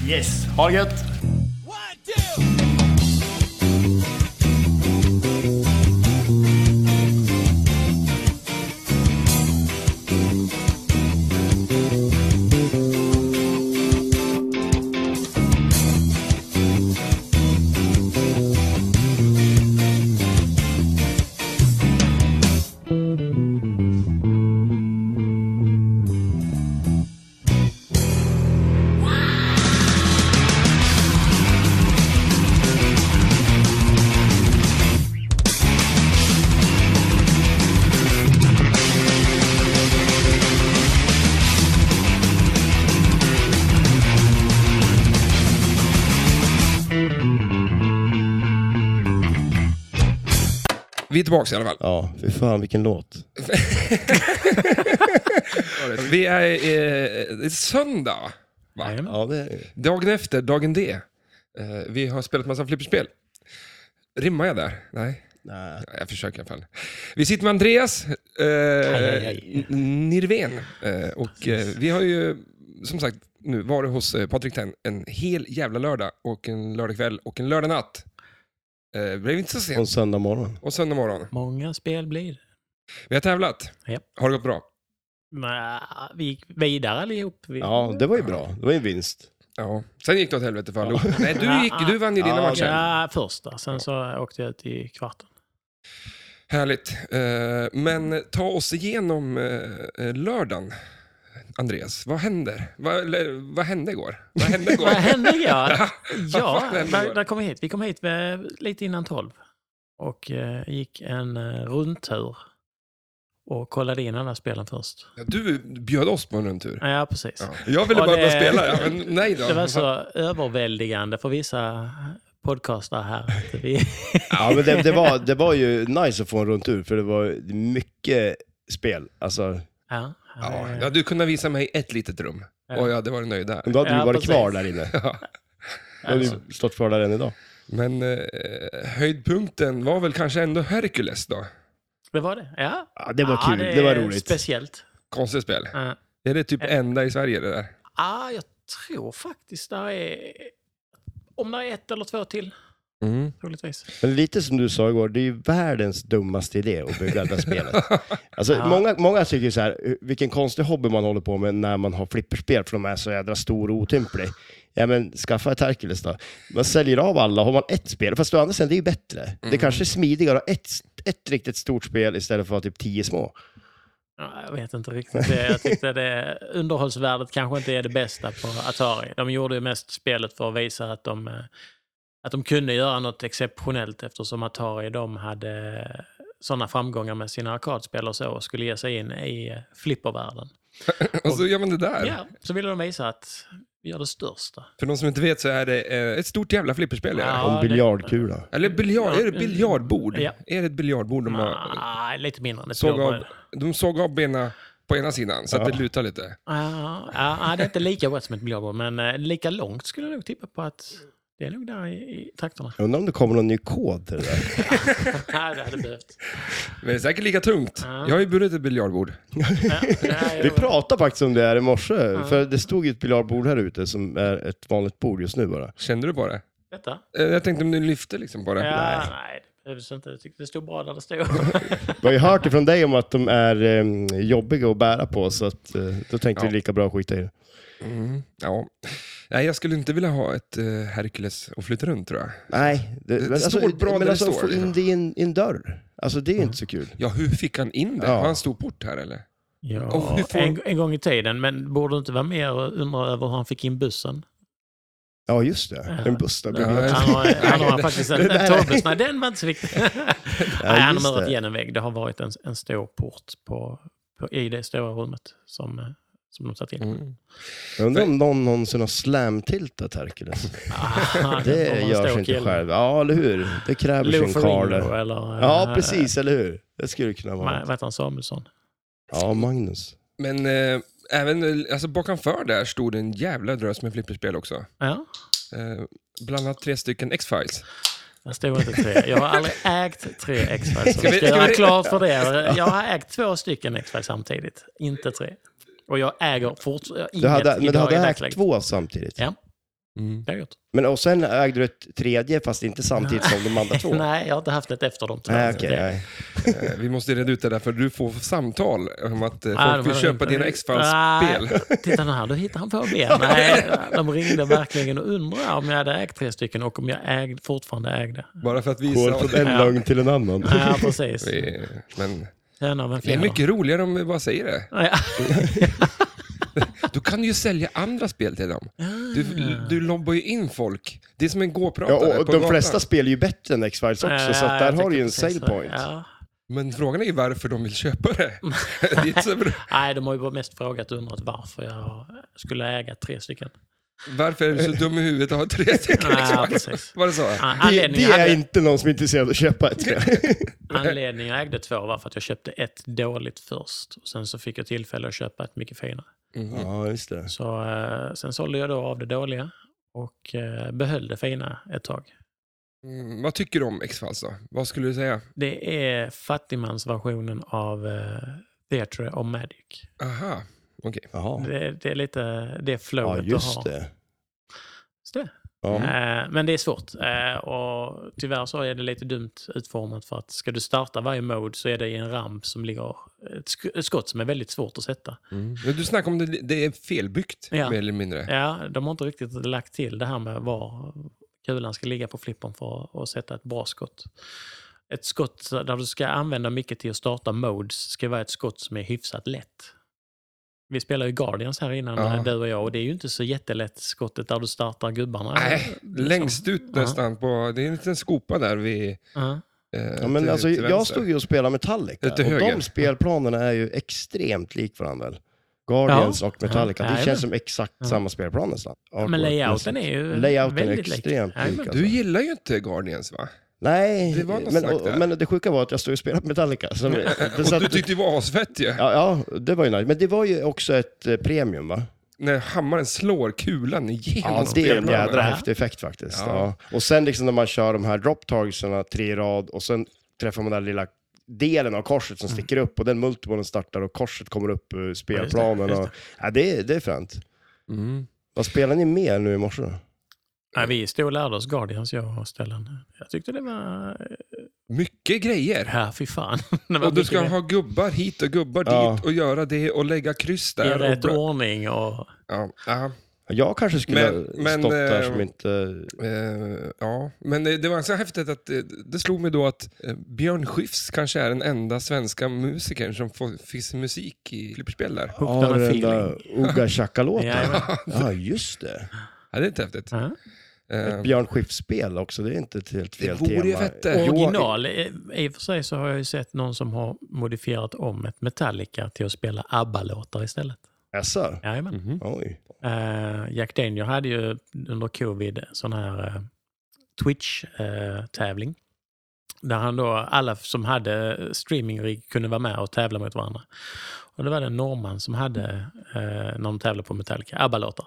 Yes, ha det gött! Vi är tillbaka i alla fall. Ja, fy fan vilken låt. Vi är eh, det är söndag. Va? Jajamän. Ja, det är det. Dagen efter, dagen D. Eh, vi har spelat massa flipperspel. Rimmar jag där? Nej, Nej. jag försöker i alla fall. Vi sitter med Andreas aj, eh, aj. Nirven. Eh, och eh, vi har ju, som sagt, nu varit hos eh, Patrik Tenn en hel jävla lördag och en lördagkväll och en lördagnatt. Eh, det blev inte så På en sent. söndag morgon. Och söndag morgon. Många spel blir det. Vi har tävlat. Japp. Har det gått bra? Men, vi gick vidare allihop. Vi... Ja, det var ju bra. Det var ju en vinst. Ja. Sen gick det åt helvete för allihop. Nej, du, gick, du vann ju dina Ja. matcher. Ja, första. Sen så åkte jag ut i kvarten. Härligt. Eh, Men ta oss igenom eh, eh, lördagen, Andreas. Vad händer? Vad, eller, vad hände igår? Vad hände igår? Vad hände igår? Vad Ja, fan hände där, igår? där kom vi hit. Vi kom hit eh, lite innan tolv och eh, gick en eh, rundtur och kollade in alla spelen först. Ja, du bjöd oss på en rundtur. Ja, precis. Ja. Jag ville Och bara börja det- spela, ja, men nej då. Det var så överväldigande för vissa podcastar här. att Vi, Ja, men det, det, var, det var ju nice att få en rundtur, för det var mycket spel. Alltså, ja, Ja, eh, ja, du kunde visa mig ett litet rum och jag hade varit nöjd där. men då hade Ja, du varit precis. kvar där inne. Då hade du stått kvar där än idag. Men eh, höjdpunkten var väl kanske ändå Hercules då? det var det. Ja. Ja, det var Ja, kul. det var är roligt. Speciellt. Konstigt spel. Ja. Är det typ enda i Sverige det där? Ah, jag tror faktiskt där är... Om det är ett eller två till, Mm. troligtvis. Men lite som du sa igår, det är ju världens dummaste idé att bygga det här spelet. Alltså, Ja. många, många tycker ju så här, vilken konstig hobby man håller på med när man har flipperspel, för de är så jädra stor och otymplig. Ja men skaffa ett Hercules då. Man säljer av alla, har man ett spel, fast å andra sidan, det är ju bättre. Mm. Det kanske är smidigare att ha ett, ett riktigt stort spel istället för att ha typ tio små. Ja, jag vet inte riktigt. Det- Jag tyckte det, underhållsvärdet kanske inte är det bästa på Atari. De gjorde ju mest spelet för att visa att de, eh, att de kunde göra något exceptionellt eftersom Atari de hade sådana framgångar med sina arkadspel och så och skulle ge sig in i eh, flippervärlden. Och så gör man det där. Ja, så ville de visa att vi gör det största. För de som inte vet så är det eh, ett stort jävla flipperspel. är det. Ja, en det- biljardkula. Eller biljard, Ja. är det biljardbord? Ja. Är det ett biljardbord de har, Nej, lite mindre än ett såg av, blåbär. de såg av benen på ena sidan så att det lutar lite? Ja, ja, ja, det är inte lika brett som ett blåbär, men eh, lika långt skulle jag nog tippa på att det är nog där i, i trakterna. Jag undrar om det kommer någon ny kod till det där. Nej, det hade behövt. Men det är säkert lika tungt. Ja. Jag har ju burit ett biljardbord. Ja, nej, Vi jag- pratade faktiskt om det här i morse, för det stod ju ett biljardbord här ute som är ett vanligt bord just nu bara. Kände du på det? Detta? Eh, Jag tänkte om du lyfte liksom på det. Ja, nej, det behövdes inte. Jag tyckte det stod bra där det stod. Vi har ju hört ifrån dig om att de är em, jobbiga att bära på, så att, eh, då tänkte Ja. vi lika bra att skita i det. Mm, ja. Nej, jag skulle inte vilja ha ett eh, Hercules och flytta runt tror jag. Nej, det, Det men alltså, står bra där men det alltså står, få liksom. in det i en, i en dörr. Alltså det är ju inte så kul. Ja, hur fick han in det? Ja. Har han stor port här eller? ja, Och hur får- en, en gång i tiden, men borde inte vara mer och undra över hur han fick in bussen. Ja, just det. En buss där. Ja, Ja, Han har, han har faktiskt en, det där en är- torbus. Nej, den var inte så viktig. nej, han just har murat det. igen en vägg. Det har varit en, en stor port på, på, i det stora rummet som, eh, som de Mm. satt in. Jag undrar om någon någonsin har slam-tiltat Hercules. Ah, om Det man görs står inte killen. själv. Ja, eller hur? Det kräver Lou sin Ferrigno karl. eller... eh, Ja, precis, eller hur? Det skulle kunna Vad vad vara. heter han? Samuelsson? Ja, Magnus. Men eh, även eh, alltså, bakanför där stod en jävla drös med flipperspel också. Ja. Eh, bland annat tre stycken X-Files. Jag stod inte tre. Jag har aldrig ägt tre X-Files. Ska Ska, vi- vi, ska ska göra vi- klart för det. Jag har ägt två stycken X-Files samtidigt, inte tre. Och jag äger fortfarande inget Du hade, men idag du hade i ägt dagsläget. två samtidigt. Ja. Det har jag gjort. Men, och sen ägde du ett tredje, fast inte samtidigt som de andra två. Nej, jag har inte haft ett efter dem. tyvärr. Nej, okej. Det- nej. Eh, Vi måste reda ut det där, för du får samtal om att eh, Nej, de folk vill hade köpa Ah, inte- Ah. dina X-Files-spel. Nej, Titta nu här, då hittar han på ben. Nej, de ringde verkligen och undrade om jag hade ägt tre stycken och om jag ägde, fortfarande ägde. Bara för att Går visa. från en Ja. lögn till en annan. Ja, precis. Vi- Men En av en det är fjärde. mycket roligare om vi bara säger det. Ja. Du kan ju sälja andra spel till dem. Ah. Du, du lobbar ju in folk. Det är som en Ja, gåpratare och på de gatan. flesta spelar ju bättre än X-Files också, så Ja, att där jag har du ju en tycker precis sale det. point. Ja. Men frågan är ju varför de vill köpa det. det är inte så bra. Nej, de har ju bara mest frågat och undrat varför jag skulle äga tre stycken. Varför är du så dum i huvudet och har tre stycken? Ja, Ah, precis. Var det så? Ja, Det, Anledningen det jag är hade- inte någon som är intresserad av att köpa ett. tror jag. anledningen jag ägde två var för att jag köpte ett dåligt först. Och sen så fick jag tillfälle att köpa ett mycket finare. ja, just det. Så, eh, sen sålde jag då av det dåliga och eh, behöll det fina ett tag. Mm, vad tycker du om X-Files då? Vad skulle du säga? Det är fattigmansversionen av eh, Theatre och Magic. Aha, okej. Jaha. Det, det är lite det flowet Ja, du har. just det. Just det. Ja. Eh, men det är svårt. Eh, och tyvärr så är det lite dumt utformat för att ska du starta varje mode så är det i en ramp som ligger ett, sk- ett skott som är väldigt svårt att sätta. Mm. Men du snackade om det, det är felbyggt, Ja. mer eller mindre. Ja, de har inte riktigt lagt till det här med var kulan ska ligga på flippern för att sätta ett bra skott. Ett skott där du ska använda mycket till att starta modes ska vara ett skott som är hyfsat lätt. Vi spelade ju Guardians här innan, Ja. du och jag, och det är ju inte så jättelätt skottet där du startar gubbarna. Nej, längst ut liksom. Ja. nästan. På, det är en liten skopa där vid... Ja. Eh, Ja, men alltså, jag vänster. stod ju och spelade Metallica Ut till och höger. de spelplanerna är ju extremt lik varandra. väl? Guardians Ja. och Metallica. Ja, Det jajamän. känns som exakt Ja. samma spelplan nästan. Men layouten är ju Layouten är väldigt lik. extremt Jajamän. lik. Alltså. Du gillar ju inte Guardians va? Nej, Det var något men, snack där. och, men det sjuka var att jag stod och spelade Metallica. Så, det, så Och du att, tyckte det var asfett ju. ja, ja, det var ju nice. Men det var ju också ett eh, premium va? När hammaren slår kulan igenom Ja, det är en spelplanen. jädra Ja. häftig effekt faktiskt. alltså Ja. Ja. Och sen liksom när man kör de här drop targetsarna tre i rad och sen träffar man den där lilla delen av korset som sticker upp och den multibollen startar och korset kommer upp ur spelplanen. just och, ja, det, är- det är fränt. Mm. Vad spelar ni med nu i morse då? Nej, vi stod och lärde oss Guardians, jag och Stellan. Jag tyckte det var... Mycket grejer. Ja, fy fan. Det var Och du mycket ska mer. ha gubbar hit och gubbar Ja. dit och göra det och lägga kryss där. i och rätt bra- ordning och... ja, ja. Jag kanske skulle Men- ha men, stått där eh, som inte... Eh, ja, men det, det var så häftigt att eh, det slog mig då att eh, Björn Skifs kanske är den enda svenska musikern som får, finns musik i flipperspel där. Ja, den här den feeling. där Uga Chaka-låten. Jajamän. ja, just det. Ja, det är inte häftigt. Ja. Eh, Björn Skifs-spel också, det är inte ett helt det fel vore ju tema. fette. eh, Original. I i och för sig så har jag ju sett någon som har modifierat om ett Metallica till att spela ABBA-låtar istället. Jaså? Jajamän. Mm-hmm. Oj. Eh, Jack Daniel hade ju under covid en sån här eh, Twitch-tävling. där han då, alla som hade streaming kunde vara med och tävla mot varandra. Och det var det en norrman som hade, eh, när de tävlade på Metallica, ABBA-låtar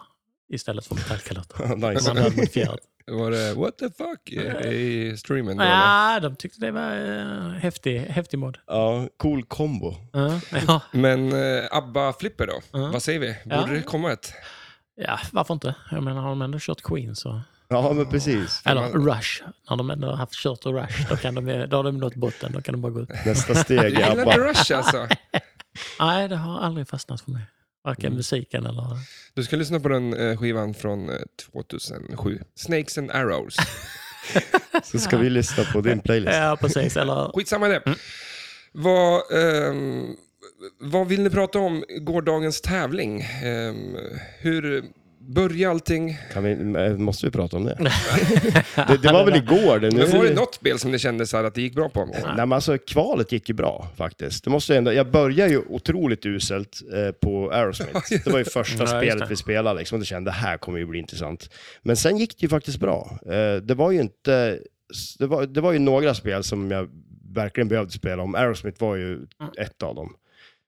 istället för Metallica-låtar. Som han nice. hade modifierat. Var det what the fuck i, i streamen? då, eller? Ja, de tyckte det var eh, häftig, häftig mod. Ja, cool kombo. Ja, ja. Men eh, ABBA Flipper då? Vad säger vi? Borde Ja. det komma ett? ja, varför inte? Jag menar, har de ändå kört Queen så... Ja, men precis. Eller Rush. När de ändå har haft kört Rush, då, kan de, då har de nått botten. Då kan de bara gå ut. Nästa steg Du är gillar inte ABBA. Rush alltså? Nej, det har aldrig fastnat för mig. Varken Mm. musiken eller... Du ska lyssna på den eh, skivan från eh, 2007. Snakes and Arrows. Så ska vi lyssna på din playlist. Ja, precis. Eller... Skitsamma i det. Mm. Vad, ehm, vad vill ni prata om gårdagens tävling? Ehm, hur börjar allting? Kan vi, eh, måste vi prata om det? det, det var väl igår? Det, nu Men var är det något spel som ni kände så här att det gick bra på? Nej, men alltså, kvalet gick ju bra faktiskt. Det måste jag, ändå, jag började ju otroligt uselt eh, på Aerosmith. Det var ju första Ja, just spelet det. vi spelade liksom, och då kände det här kommer ju bli intressant. Men sen gick det ju faktiskt bra. Eh, det var ju inte... Det var, det var ju några spel som jag verkligen behövde spela om. Aerosmith var Mm. ju ett av dem.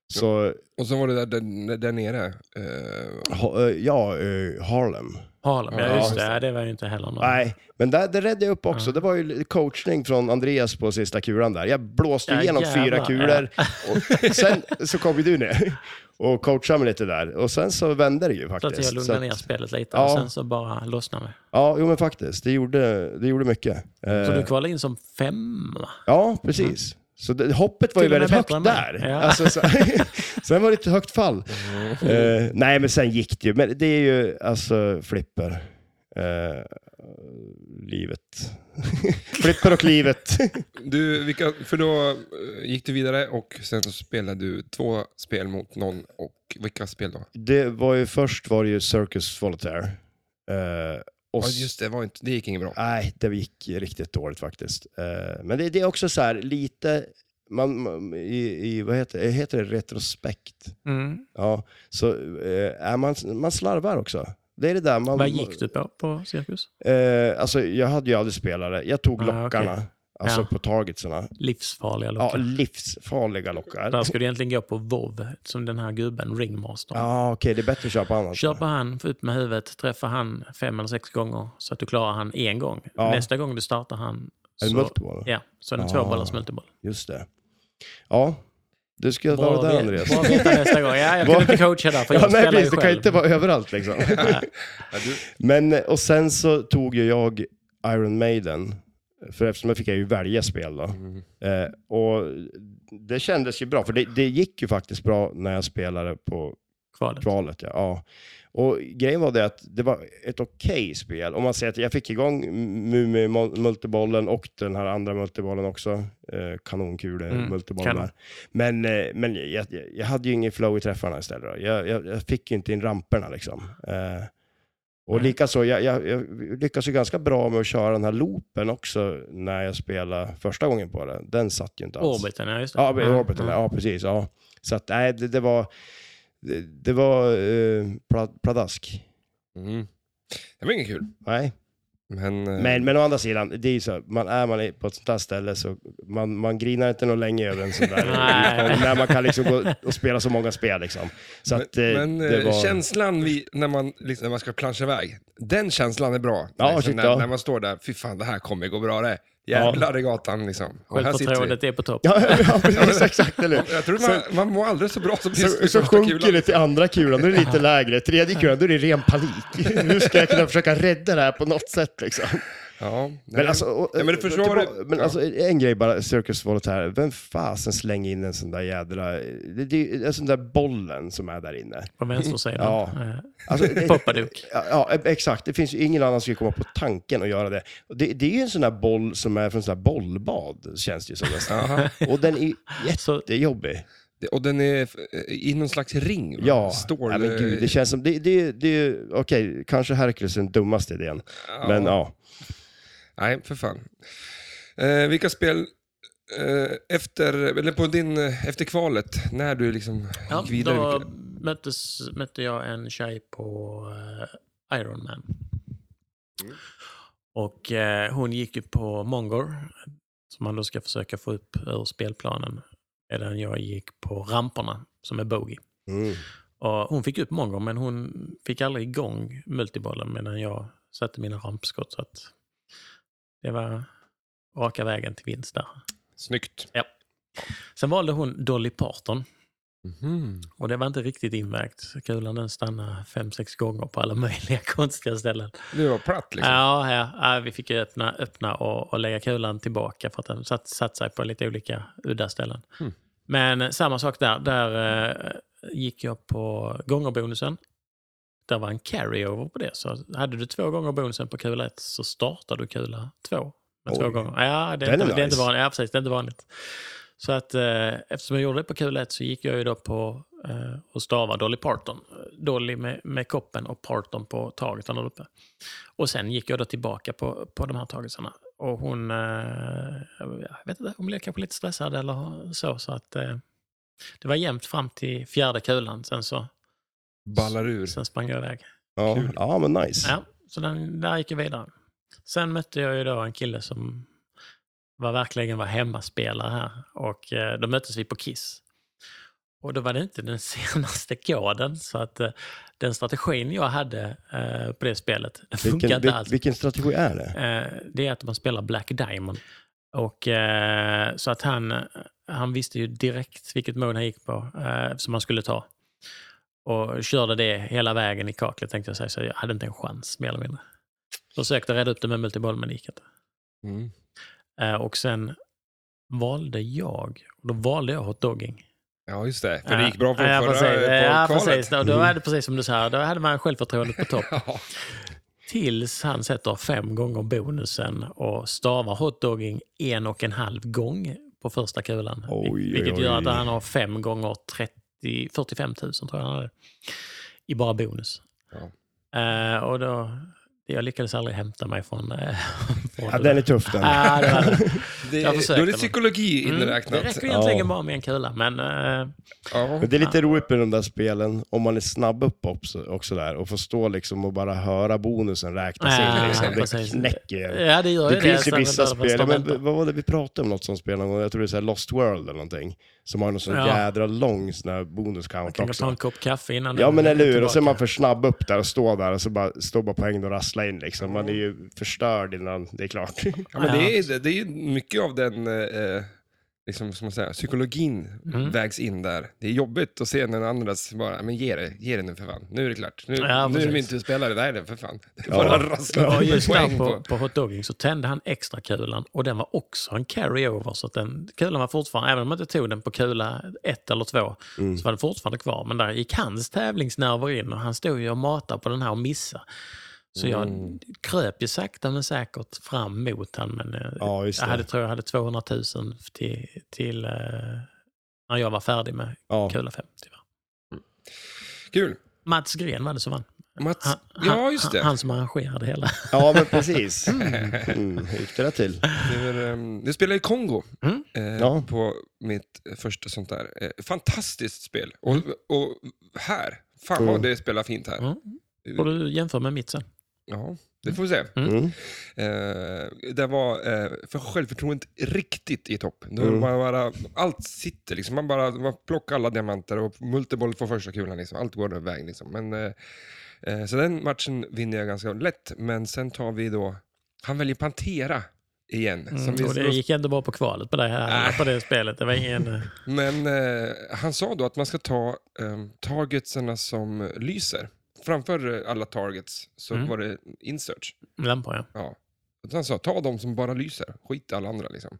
Så Och så var det där, där, där nere. Eh, ha, eh, ja, eh, Harlem. Harlem, ja Ja, just det. Ja, det var ju inte heller någon. Nej, men där, det räddade jag upp också. Det var ju lite coachning från Andreas på sista kulan där. Jag blåste Ja, igenom jävlar, fyra kulor och sen så kom ju du ner och coachade mig lite där. Och sen så vände det ju Så att faktiskt. jag Så lugnade att- ner spelet lite och Ja. sen så bara lossnade det. Ja, jo men faktiskt. Det gjorde, det gjorde mycket. Eh, Så du Mm. kvalade in som femma? Ja, precis. Så det, hoppet var ju Till och med väldigt högt bättre än mig. där. Ja. Mm. Alltså, så, sen var det ett högt fall. Eh, nej, men sen gick det ju. Men det är ju alltså flipper. Eh, livet. flipper och livet. Du, vilka, för då eh, gick du vidare och sen så spelade du två spel mot någon. Och vilka spel då? Det var ju först var det ju Circus Voltaire. Eh, och Ja, just det, var inte, det gick inget bra. Nej, det gick riktigt dåligt faktiskt. Eh, men det, det är också så här lite, man, man, i, i, vad heter, det? heter det retrospekt? Mm. Ja, så eh, är man, man slarvar också. Det är det där man... Vad gick du på på cirkus? Eh, alltså, jag hade ju aldrig spelare. Jag tog Ah, lockarna. okej. Alltså Ja. på tagitsarna. Livsfarliga Ja, lockar. Alltså. livsfarliga lockar. Där Ja, ska du egentligen gå på WoW, som den här gubben, Ringmaster. okej, det är bättre att köpa annat. Kör på han, få upp med huvudet, träffa han fem eller sex gånger så att du klarar han en gång. Ja. Nästa gång du startar han... Är det så- multiboll? Ja, så är det Ah. tvåbollars multiboll. Just det. Ja, du ska jag ta Bra, det där, vet- Andreas. bra veta nästa gång. Ja, jag Bra. kan inte coacha där, för jag Ja, nej, spelar precis. Du ju kan själv. inte vara överallt liksom. Ja, du, Men, eh, och sen så tog ju jag Iron Maiden. För eftersom jag fick jag ju välja spel då. Mm. Eh, och det kändes ju bra, för det, det gick ju faktiskt bra när jag spelade på Kvalet. kvalet. Ja. ja. Och grejen var det att det var ett okej spel. Om man säger att jag fick igång Mumi-multibollen och den här andra multibollen också. Eh, kanonkule Mm, multibollen kanon. där. Men, eh, men jag, jag, jag hade ju ingen flow i träffarna istället. Då. Jag, jag, jag fick ju inte in ramperna liksom. Eh, och likaså, jag, jag, jag lyckas ju ganska bra med att köra den här loopen också när jag spelade första gången på den. Den satt ju inte alls. Orbiten, ja just det. Ja, med orbiten, ja precis. Ja. Så att, nej, det, det var, det, det var eh, pla- pladask. mm. Det var inget kul. Nej, Men, eh, men, men å andra sidan, det är ju så, här, man, är man i- på ett sånt här ställe så man, man grinar inte någon länge över en sån där. liksom, Nej. när man kan liksom gå och spela så många spel liksom. Så att, eh, men det eh, var... känslan vi, när, man, liksom, när man ska planscha iväg, den känslan är bra. Ja, liksom, shit, när, ja. när man står där, fy fan det här kommer gå bra det. Jävlar i gatan liksom. Och här sitter vi. Självförtroendet är på topp. Ja, ja, precis, exakt, eller hur? Jag tror Så- man, man mår aldrig så bra som just Så, i så första sjunker kulan. det till andra kulan, då är det lite lägre. Tredje kulan, då är det ren panik. Hur ska jag kunna försöka rädda det här på något sätt liksom? Ja, Men alltså, och- ja, men du förstår vad tillbaka- det- men ja. alltså en grej bara, Circus Voltaire, vem fasen slänger in en sån där jädra, det, det är ju en sån där bollen som är där inne. På vänstersidan. Ja. Eh, Alltså, det, Poppaduk. Ja, ja, exakt. Det finns ju ingen annan som skulle komma på tanken att göra det. Och Det, det är ju en sån där boll som är från sån där bollbad, känns det ju som nästan. Aha. Och den är ju Så- jättejobbig. Det- Och den är eh, i någon slags ring? va? Ja, Stål... nej, men gud, det känns som, det, det, det är ju, okej, kanske Hercules är den dummaste idén. Men ja, Nej, för fan. Eh, vilka spel eh, efter, eller på din, eh, efter kvalet, när du liksom Ja, gick vidare? då vilka- möttes, mötte jag en tjej på eh, Iron Man. Och eh, hon gick ju på Mongor, som man då ska försöka få upp ur spelplanen. Medan jag gick på ramperna, som är bogey. mm. Och hon fick upp Mongor, men hon fick aldrig igång multibollen medan jag satte mina rampskott. Så att det var raka vägen till vinst där. Snyggt. Sen valde hon Dolly Parton. Mhm. Och det var inte riktigt invägt. Kulan den stannade fem, sex gånger på alla möjliga konstiga ställen. Det var platt liksom. Ja, ja, ja, vi fick ju öppna, öppna och, och lägga kulan tillbaka för att den satt, satt sig på lite olika udda ställen. Men eh, samma sak där. Där eh, gick jag på gångerbonusen. Där var en carryover på det. Så hade du två gånger bonusen på kula ett så startade du kula två. Med två Oj. gånger. Ja, det är, Den är inte, det är inte nice. vanligt. Ja, precis, det är inte vanligt. Så att eh, eftersom jag gjorde det på kula ett så gick jag ju då på eh, och stava Dolly Parton. Dolly med, med koppen och Parton på taget där uppe. Och sen gick jag då tillbaka på, på de här tagelserna. Och hon, eh, jag vet inte, hon blev kanske lite stressad eller så. så att, eh, det var jämnt fram till fjärde kulan, sen, Mm. så, Äh, Ballar ur. sen sprang jag iväg. ja, ja, men nice. Ja, så den, där gick jag vidare. Sen mötte jag ju då en kille som var verkligen var hemmaspelare här. Och eh, då möttes vi på Kiss. Och då var det inte den senaste koden, så att eh, den strategin jag hade eh, på det spelet, den funkar Vilken, inte vil, alls. vilken strategi är det? Eh, det är att man spelar Black Diamond. Och, eh, så att han, han visste ju direkt vilket mål han gick på eh, som han skulle ta. Och körde det hela vägen i kaklet tänkte jag säga, så jag hade inte en chans mer eller mindre. Försökte rädda upp det med multiboll men det gick inte. Mm. Eh, och sen valde jag, och då valde jag hotdogging. Ja, just det. För det gick bra på Ja, förra ja, eh, precis. Eh, Ja, på precis. kvalet. Då, då var det precis som du sa, då hade man självförtroendet på topp. Ja, Tills han sätter fem gånger bonusen och stavar hotdogging en och en halv gång på första kulan. Oj, oj, vilket gör att oj. han har fem gånger 30, 45 000 tror jag han hade, i bara bonus. Ja. Eh, och då Jag lyckades aldrig hämta mig från... eh, Ja, från det den där. är tuff den. Ah, det var det. Det, Jag försökte, då är det men- Mm, psykologi det inräknat. räcker Ja. egentligen bara med en kula, men... eh, Ja. Men det är lite roligt med de där spelen, om man är snabb upp också, också där och får stå liksom och bara höra bonusen räknas Ja, in. Liksom. ja, Det precis. knäcker ju. ja, det gör ju Det det. finns ju sen vissa behöver man spel, stå och men vänta. vad var det vi pratade om något sånt spel någon gång? Jag tror det är så här Lost World eller någonting. Som har någon sån Ja. jädra lång sån här bonuscount Kan jag ta också. en kopp kaffe innan Ja den men eller hur, och så är man tillbaka? för snabb upp där och står där och så bara, står bara poängen och rasslar in liksom. Man är ju förstörd innan det är klart. Ja, men det, är, det är ju mycket av den eh, liksom, som man säger, psykologin Mm. vägs in där. Det är jobbigt att se när den andras bara, men ge det, ge det nu för fan. Nu är det klart. Nu, Ja, nu är det precis. min tur att spela det. Nej, det är för fan. Det är bara rasslar Ja, med just där poäng på, på hotdogging så tände han extra kulan och den var också en carry-over. Så att den kulan var fortfarande, även om man inte tog den på kula ett eller två, så var den fortfarande kvar. Men där gick hans tävlingsnerver in och han stod ju och matade på den här och missade. Så jag kröp ju sakta men säkert fram mot han men eh, Ja, just jag det. hade, tror jag hade 200 000 till, till eh, när jag var färdig med Ja. kula 50. Va? Kul. Mats Gren var det som vann. Mats, Han, ja just det. Han, han som arrangerade hela. Ja men precis. Mm, hur gick det där till? Det är, väl, ehm, jag spelade i Kongo Mm. eh, Ja. på mitt första sånt där. Eh, fantastiskt spel. Och, och här, fan vad Mm. det spelar fint här. Mm. Och du jämför med mitt sen. Ja, det får vi se. Mm. Eh, där var eh, för självförtroendet riktigt i topp. Då Mm. man bara, allt sitter liksom. Man bara man plockar alla diamanter och multiboll får första kulan. Liksom. Allt går den vägen. Liksom. Men, eh, eh, så den matchen vinner jag ganska lätt. Men sen tar vi då, han väljer Pantera igen. som vi Mm, och det då- gick ändå bra på kvalet på det, här, Nej. på det spelet. Det var ingen... Men eh, han sa då att man ska ta eh, targetserna som lyser. Framför eh, alla targets så Mm. var det insearch. Lampa, ja. Ja. Och Han sa ta de som bara lyser, skit i alla andra. Liksom.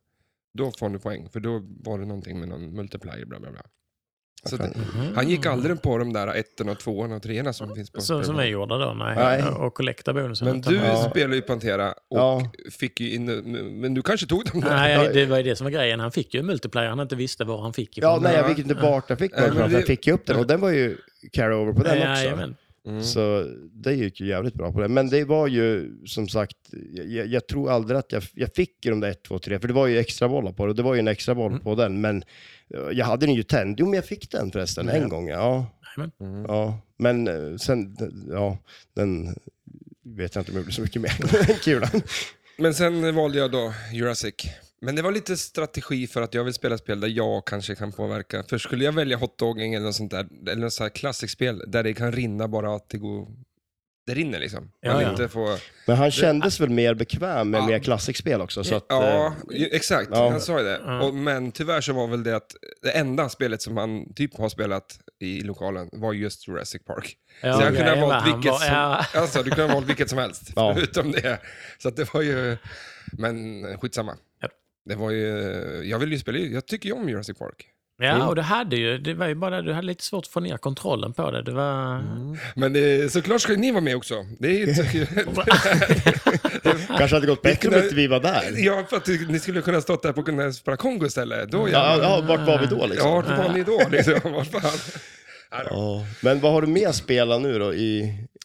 Då får du poäng, för då var det någonting med någon multiplier. Bla, bla, bla. Så det, han gick aldrig på de där ettorna, tvåorna och treorna som finns på Så, som vi gjorde då, nej. Nej. Och kollekta bonusen. Men utan- du Ja. spelade ju Pantera och Ja. fick ju in... Men du kanske tog dem där? Nej, det var ju det som var grejen. Han fick ju en multiplayer han inte visste var han fick ifrån. Ja, nej, jag vet inte vart jag fick Nej, den men ifrån, för jag det- fick ju upp den och den var ju carry-over på den också. Jajamän. Mm. Så det gick ju jävligt bra på det. Men det var ju som sagt, jag- jag, jag tror aldrig att jag, jag fick ju de där 1, 2, 3, för det var ju extra bollar på det och det var ju en extra Mm. boll på den. Men eh, jag hade den ju tänd. Jo, men jag fick den förresten en gång. Ja, Mm. Jajamän. ja. men eh, sen, ja, den vet jag inte om jag gjorde så mycket mer. Den Kulan. Men sen valde jag då Jurassic. Men det var lite strategi för att jag vill spela spel där jag kanske kan påverka. För skulle jag välja hotdogging eller något sånt där, eller något så här klassikspel där det kan rinna bara att det går... Det rinner liksom. Man Ja, ja. inte får... Men han kändes väl mer bekväm med Ja. mer klassikspel också. Så att, eh, Ja, ju- exakt. Ja. Han sa ju det. Och, men tyvärr så var väl det att det enda spelet som han typ har spelat i lokalen var just Jurassic Park. Ja, så han kunde grejen ha var, valt han vilket var- som, ja. alltså, du kunde ha valt vilket som helst, Ja. förutom det. Så att det var ju... Men eh, skitsamma. Ja. Det var ju... Jag vill ju spela... Jag tycker ju om Jurassic Park. Ja, och du hade ju... Det var ju bara det, du hade lite svårt att få ner kontrollen på det. Det var... Men det, såklart ska ju ni vara med också. Det är ju... kanske hade gått bättre om kunde- inte vi var där. ja, för att ni skulle kunna stått där på kunna spela Kongo istället. Då Ja, jävlar. ja, vart var vi då liksom? Ja, vart var ni då? Liksom? Vart fan? Ja. Men vad har du mer spelat nu då i,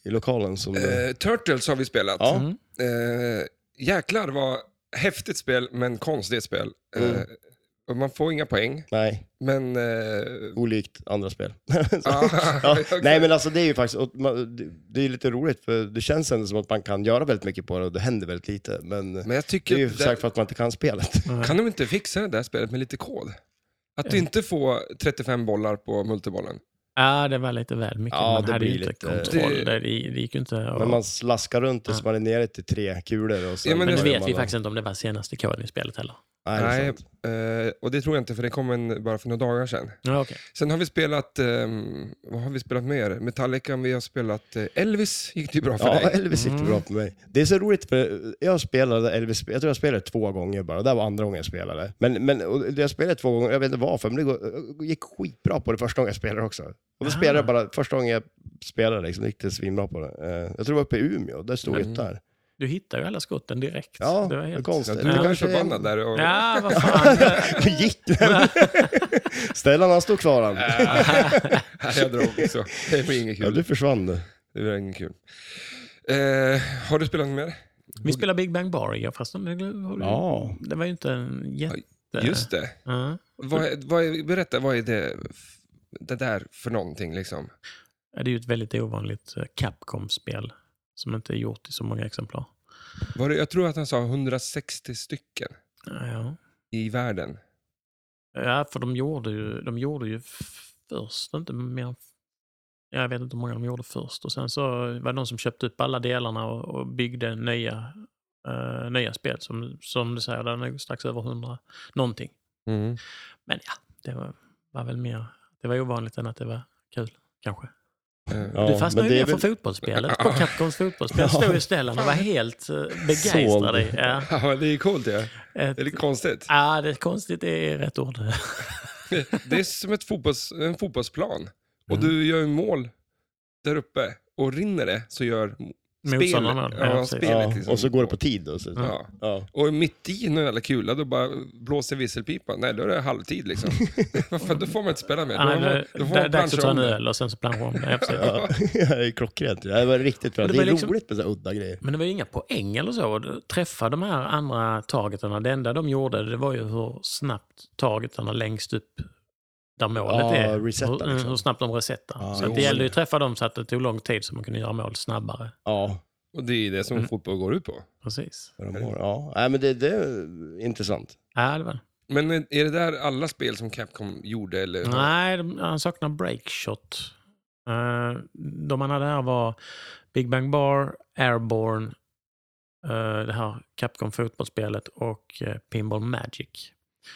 i lokalen? Som du... Eh, Turtles har vi spelat. Mm. Ja. Eh, jäklar vad häftigt spel, men konstigt spel. Mm. Eh, och man får inga poäng, Nej, men... Eh, olikt andra spel. ja, ja. Nej men alltså det är ju faktiskt, och man- det- det är lite roligt för det känns ändå som att man kan göra väldigt mycket på det och det händer väldigt lite. Men, men jag det tycker... är ju att Mm. det- säkert för att man inte kan spelet. Kan de inte fixa det där spelet med lite kod? Att du inte får 35 bollar på multibollen. Ja, det var lite väl mycket. Ja, man det hade ju blir inte lite- kontroll. Det, det gick ju inte att... Men man slaskar runt tills man är nere till tre kulor. Och sen Ja, men Men nu det- vet vi faktiskt inte om det var senaste koden i spelet heller. Nej, det är Nej, sant. eh, och det tror jag inte, för det kom en bara för några dagar sedan. Ja, okej. Sen har vi spelat, ehm, vad har vi spelat mer? Metallica, vi har spelat eh, Elvis, gick det ju bra för Ja, dig. Elvis gick det bra på mig. Det är så roligt för jag spelade Elvis, jag tror jag spelade två gånger bara. Det här var andra gången jag spelade. Men, men och jag spelade två gånger, jag vet inte varför, men det går- gick skitbra på det första gången jag spelade också. Och då spelade jag bara, första gången jag spelade liksom, gick det svinbra på det. Eh, Jag tror det var uppe i Umeå, där stod jag där. Du hittar ju alla skotten direkt. Ja, det var det är helt... Ja, konstigt. du blev Det kanske kanske- förbannad där. Och, Ja, vad fan. Hur gick den? Stellan han stod kvar han. Nej, jag drog så. Det blir inget Ja, kul. du försvann du. Det blir inget kul. Eh, har du spelat något mer? Vi spelar Big Bang Bar igår, fast de, Ja. det var ju inte en jätte... Just det. Ja. Vad, är- vad, är- berätta, vad är det, det där för någonting? Liksom? Ja, Det är ju ett väldigt ovanligt eh, Capcom-spel som inte är gjort i så många exemplar. Var det, jag tror att han sa 160 stycken Ja, Ja, i världen. ja för de gjorde ju, de gjorde ju f- först, inte mer... än f- Jag vet inte hur många de gjorde först. Och Sen så var det någon som köpte upp alla delarna och, och byggde nya, eh, nya spel. Som, som du säger, det är nog strax över 100 någonting. Mm. Men ja, det var, var väl mer... Det var ovanligt än att det var kul, kanske. Eh, Ja, du fastnade men ju det mer är för väl- fotbollsspelet, på Capcoms fotbollsspel. Ja. Stod ju Stellan och var helt eh, begeistrad. i- Ja, Ja, det är coolt. Ja. ett, Det är lite konstigt. ja, det är konstigt det är rätt ord. Det är som ett fotbolls, en fotbollsplan. Och Mm. du gör ju mål där uppe och rinner det så gör Motståndaren mål. Ja, ja, precis. spelet liksom. Och så går det på tid då. Så. Ja. Ja. Och mitt i någon jävla kula, då bara blåser visselpipan. Nej, då är det halvtid liksom. Varför? då får man inte spela mer. Då får Ja, man- det- Då får det är man dags att plancha ta om en det. öl och sen så planscha om det. Ja, precis. Ja, det är klockrent. ju. Det var riktigt bra. Men det Det är var liksom- roligt med så här udda grejer. Men det var ju inga poäng eller så. Och Träffa de här andra targetarna. Det enda de gjorde det var ju hur snabbt targetarna längst upp där målet Ja, är. resetta, hur, liksom. hur snabbt de resetar. Ja, så att det jo. gällde ju att träffa dem så att det tog lång tid så man kunde göra mål snabbare. Ja, Och det är det Mm. som fotboll går ut på. Precis. vad de har. ja. Nej, men det, det är intressant. Ja, det var det. Men eh, är är det där alla spel som Capcom gjorde? Eller? Nej, de- han saknar breakshot. Uh, de han hade här var Big Bang Bar, Airborne, eh, det här Capcom fotbollsspelet och eh, Pinball Magic.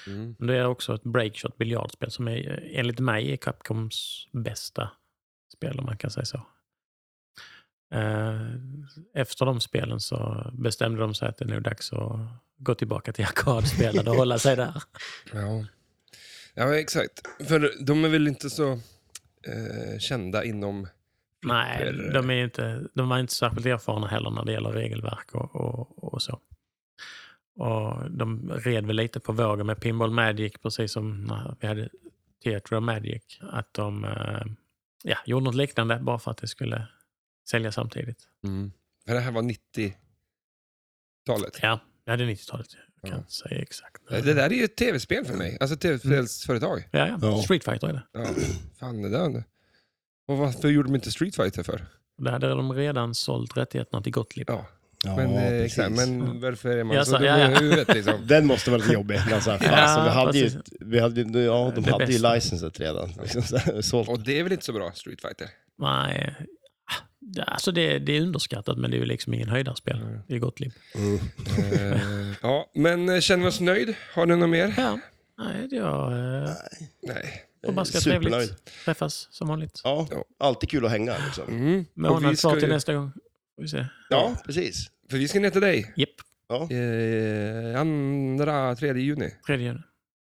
Mm. Men Det är också ett breakshot biljardspel som är, eh, enligt mig är Capcoms bästa spel om man kan säga så. Eh, Efter de spelen så bestämde de sig att det är nog dags att gå tillbaka till arkadspelen och hålla sig där. Ja. ja, men exakt. För de är väl inte så eh, kända inom... Nej, Eller- de, är ju inte, de var inte särskilt erfarna heller när det gäller regelverk och, och, och så. Och de red väl lite på vågen med Pinball Magic, precis som när vi hade Theatre of Magic. Att de eh, ja, gjorde något liknande bara för att det skulle sälja samtidigt. För det här var 90-talet. Ja, det är 90-talet. Jag kan Ja. inte säga exakt. Det där är ju ett tv-spel för mig. Alltså tv-spelsföretag. Ja, ja. Ja. Street Fighter är det. Ja. Fan, det där. Och varför gjorde de inte Street Fighter för? Där hade de redan sålt rättigheterna till Gottlieb. Ja, Ja, men, eh, precis. exakt, men varför är man Ja, så så- dum ja, ja. i huvudet liksom? Den måste vara lite jobbig. Men så här, fan, Ja, så vi hade ju, precis. ett- vi hade, ju- ja, de Det hade ju bästa. licenset redan. Liksom, så här, sålt. Och det är väl inte så bra, Street Fighter? Nej. Ah, det- Alltså det, det är underskattat, men det är ju liksom ingen höjdarspel. Det är Gottlieb. Eh, ja, men eh, känner vi oss nöjd? Har ni något mer? Ja. Nej, det är... Eh, Nej. och bara ska Supernöjd. trevligt träffas som vanligt. Ja, alltid kul att hänga liksom. Mm. Och vi Månad kvar ska, till ju- nästa gång. Får vi se. Ja, precis. för vi ska ner till dig. Japp, Ja. Eh, andra, tredje juni. 3 juni.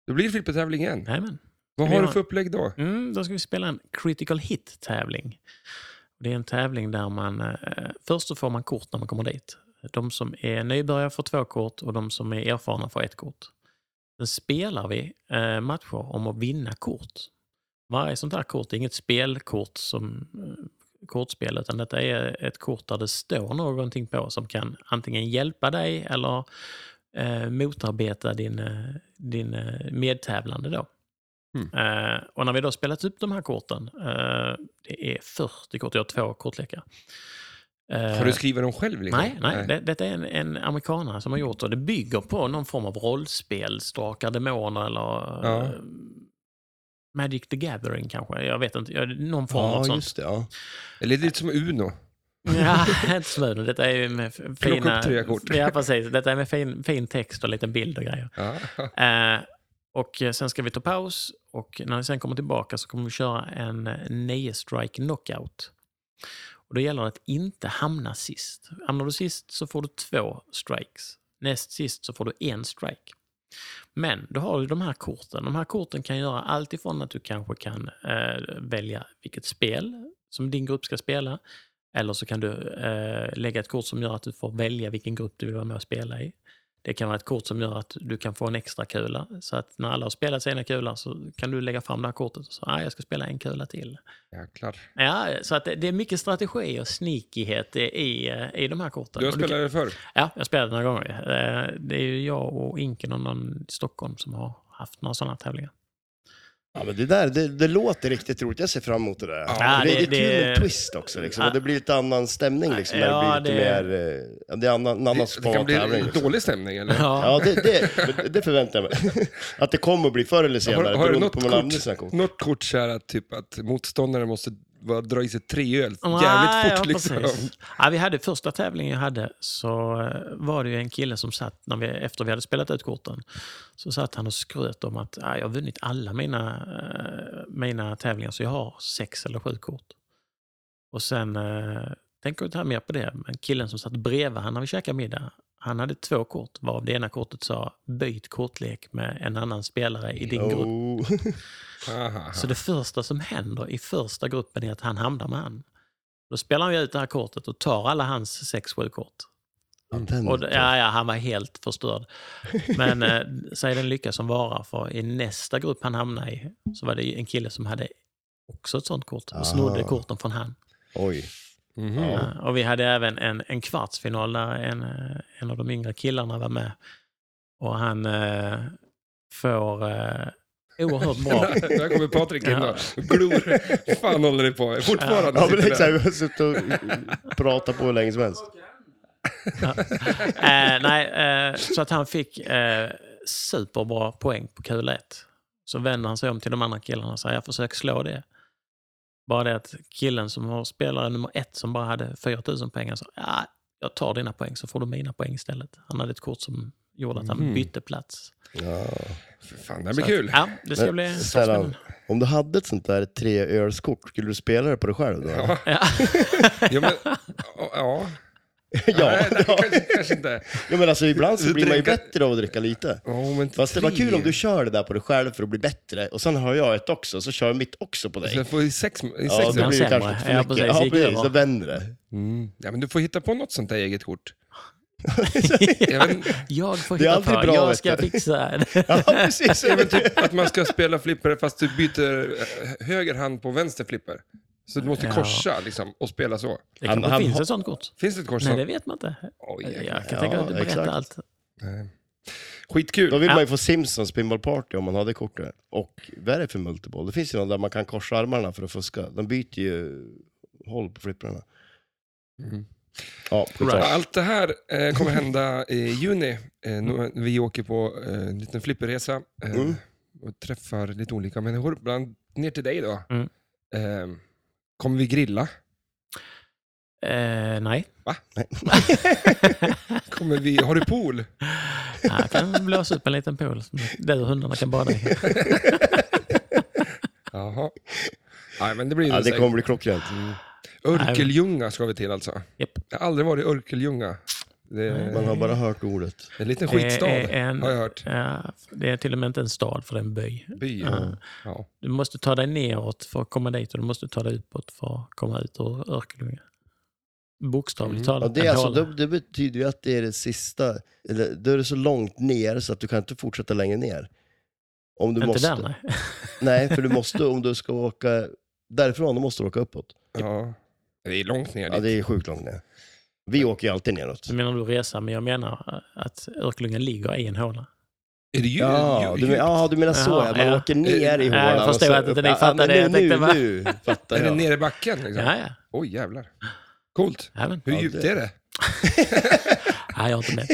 Då blir det flippertävling igen. Jajamän. Vad Vi har du har- för upplägg då? Mm, då ska vi spela en critical hit-tävling. Det är en tävling där man... Eh, först så får man kort när man kommer dit. De som är nybörjare får två kort och de som är erfarna får ett kort. Sen spelar vi eh, matcher om att vinna kort. Varje sånt här kort är inget spelkort som eh, kortspel, utan detta är ett kort där det står någonting på som kan antingen hjälpa dig eller eh, motarbeta din, eh, din eh, medtävlande. Då. Eh, och när vi då spelat upp de här korten, eh, det är 40 kort, jag har två kortlekar. Eh, Har du skrivit dem själv? Liksom? Nej, nej. Det, detta är en, en amerikanare som har gjort det. Det bygger på någon form av rollspel, Drakar Demoner eller Ja. eh, Magic the Gathering kanske. Jag vet inte. Ja, Någon form av ja, sånt. just det. Ja. Eller det är lite som Uno. Ja, inte smulor. Detta är ju med f- fina... Plocka upp tre kort. Ja, precis. Detta är med fin, fin text och lite bild och grejer. Ja. Eh, och eh, sen ska vi ta paus och när vi sen kommer tillbaka så kommer vi köra en eh, nio strike knockout. Och då gäller det att inte hamna sist. Hamnar du sist så får du två strikes. Näst sist så får du en strike. Men då har du de här korten. De här korten kan göra allt ifrån att du kanske kan eh, välja vilket spel som din grupp ska spela. Eller så kan du eh, lägga ett kort som gör att du får välja vilken grupp du vill vara med och spela i. Det kan vara ett kort som gör att du kan få en extra kula. Så att när alla har spelat sina kulor så kan du lägga fram det här kortet och säga ah, jag ska spela en kula till. Jäklar. Ja, så att det, det är mycket strategi och sneakighet i, i, eh, i de här korten. Du har Och du spelat kan, det förr? Ja, jag spelade några gånger. Eh, Det är ju jag och Inken och någon i Stockholm som har haft några sådana tävlingar. Ja, men det där, det, det låter riktigt roligt. Jag ser fram emot det där. Ja, det, det det- är kul med det- twist också liksom. Ja. Och det blir lite annan stämning liksom. Ja, när det blir lite det- mer, eh, ja, det är annan, en annan Det, det kan spa tävling. bli Liksom. dålig stämning eller? Ja, Ja, det, det, det förväntar jag mig. Att det kommer att bli förr eller senare, Har, har du beroende något på hur man använder sina kort, kort. något kort så här att, typ, att motståndaren måste vara- dra i sig tre öl Nej, jävligt ja, fort liksom? precis. Ja, vi hade första tävlingen jag hade så eh, var det ju en kille som satt, när vi, efter vi hade spelat ut korten, så satt han och skröt om att ah, jag har vunnit alla mina, eh, mina tävlingar så jag har sex eller sju kort. Och sen, eh, tänker jag inte här mer på det, men killen som satt bredvid han när vi käkade middag, han hade två kort, varav det ena kortet sa byt kortlek med en annan spelare i din grupp. Oh. Aha. Så det första som händer i första gruppen är att han hamnar med han. Då spelar han ju ut det här kortet och tar alla hans sex, sju kort. Den- Och, d- ja, ja, han var helt förstörd. Men eh, säg den lycka som varar, för i nästa grupp han hamnade i så var det ju en kille som hade också ett sånt kort och snodde Ah. korten från han. Oj. Mhm. Ja. Ja, Och vi hade även en, en kvartsfinal där en, eh, en av de yngre killarna var med. Och han eh, får eh, oerhört bra Där kommer Patrik in Ja. och glor. fan håller ni på med? Fortfarande Ja, men sitter exakt. där. Vi har suttit och pratat på hur länge som helst. eh, nej, eh, så att han fick eh, superbra poäng på kula 1. Så vänder han sig om till de andra killarna och säger jag försöker slå det. Bara det att killen som har spelare nummer ett som bara hade 4000 pengar sa ja, jag tar dina poäng så får du mina poäng istället. Han hade ett kort som gjorde att han Mm. Mhm. bytte plats. Ja. Fy Fan, det här blir Så kul. Att, ja, det ska Men, bli Stellan, spännande. om du hade ett sånt där treölskort, skulle du spela det på dig själv då? Ja. Ja. Ja, men, ja. ja. Nej, nej, kanske, kanske inte. ja, men alltså ibland Du så blir man ju dricker- bättre av att dricka lite. Oh, men Fast det var tre. kul om du kör det där på dig själv för att bli bättre, och sen har jag ett också, så kör jag mitt också på Sen dig. får vi sex, i Ja, sex då blir det sämre. kanske Ja, för mycket. precis, Ja, gick precis. över. Då vänder det. mm. ja, men Du får hitta på något sånt där eget kort. Jag vet, Jag får Det är hitta aldrig på, bra, jag vet ska du. fixa det. Ja, precis. Ja, men typ att man ska spela flipper fast du byter eh, höger hand på vänster flipper. Så du måste Ja. korsa liksom, och spela så. Det Han- kanske han finns har- ett sånt kort. Finns det ett kors Nej, som... det vet man inte. Oj, Jag kan jäklar. tänka mig att du Ja, berättar exakt. allt. Nej. Då Skitkul. vill Ja. man ju få Simpsons pinball party om man hade kortet. Och vad är det för multiboll? Det finns ju någon där man kan korsa armarna för att fuska. De byter ju håll på flipprarna. Mm. Mhm. Ja, Ja, right. Allt det här eh, kommer hända i juni. Eh, Mm. nu- vi åker på eh, en liten flipperresa eh, Mm. och träffar lite olika människor. Bland ner till dig då. Mm. Eh, kommer vi grilla? Eh, nej. Kommer vi, har du pool? Ja, jag kan blåsa upp en liten pool som du och hundarna kan bada i. Jaha. Nej, men det blir ja, det det säkert. kommer bli klockrent. Örkeljunga ska vi till alltså. Japp. Jag har aldrig varit i Örkeljunga. Det är Man har bara hört ordet. en liten skitstad, Eh, eh, en- har jag hört. Ja, det är till och med inte en stad för det är en by. By. Ja. Ja. Du måste ta dig neråt för att komma dit och du måste ta dig uppåt för att komma ut ur Örkelljunga. Bokstavligt Mm. talat. Ja, det, är en alltså, håla. det, det betyder ju att det är det sista, eller då är det så långt ner så att du kan inte fortsätta längre ner. Om du inte måste. där, nej. nej, för du måste, om du ska åka därifrån, då måste du åka uppåt. Ja. Det är långt ner Ja, dit. det är sjukt långt ner. Vi åker ju alltid neråt. Du menar du resa, men jag menar att Örkelljunga ligger i en håla. Är det ju, Ja, ju- du, men, ja, du menar så ja. Jaha, Man ja. åker ner i Ja, hålan. jag förstår och så att inte upp. ni Ja, fattar men det. Jag Nu, tänkte bara- nu fattar Är det jag. nere i backen? Liksom? Ja, ja. Oj, jävlar. Coolt. Ja, men. Hur Ja, djupt det- är det? ja, jag har inte mätt.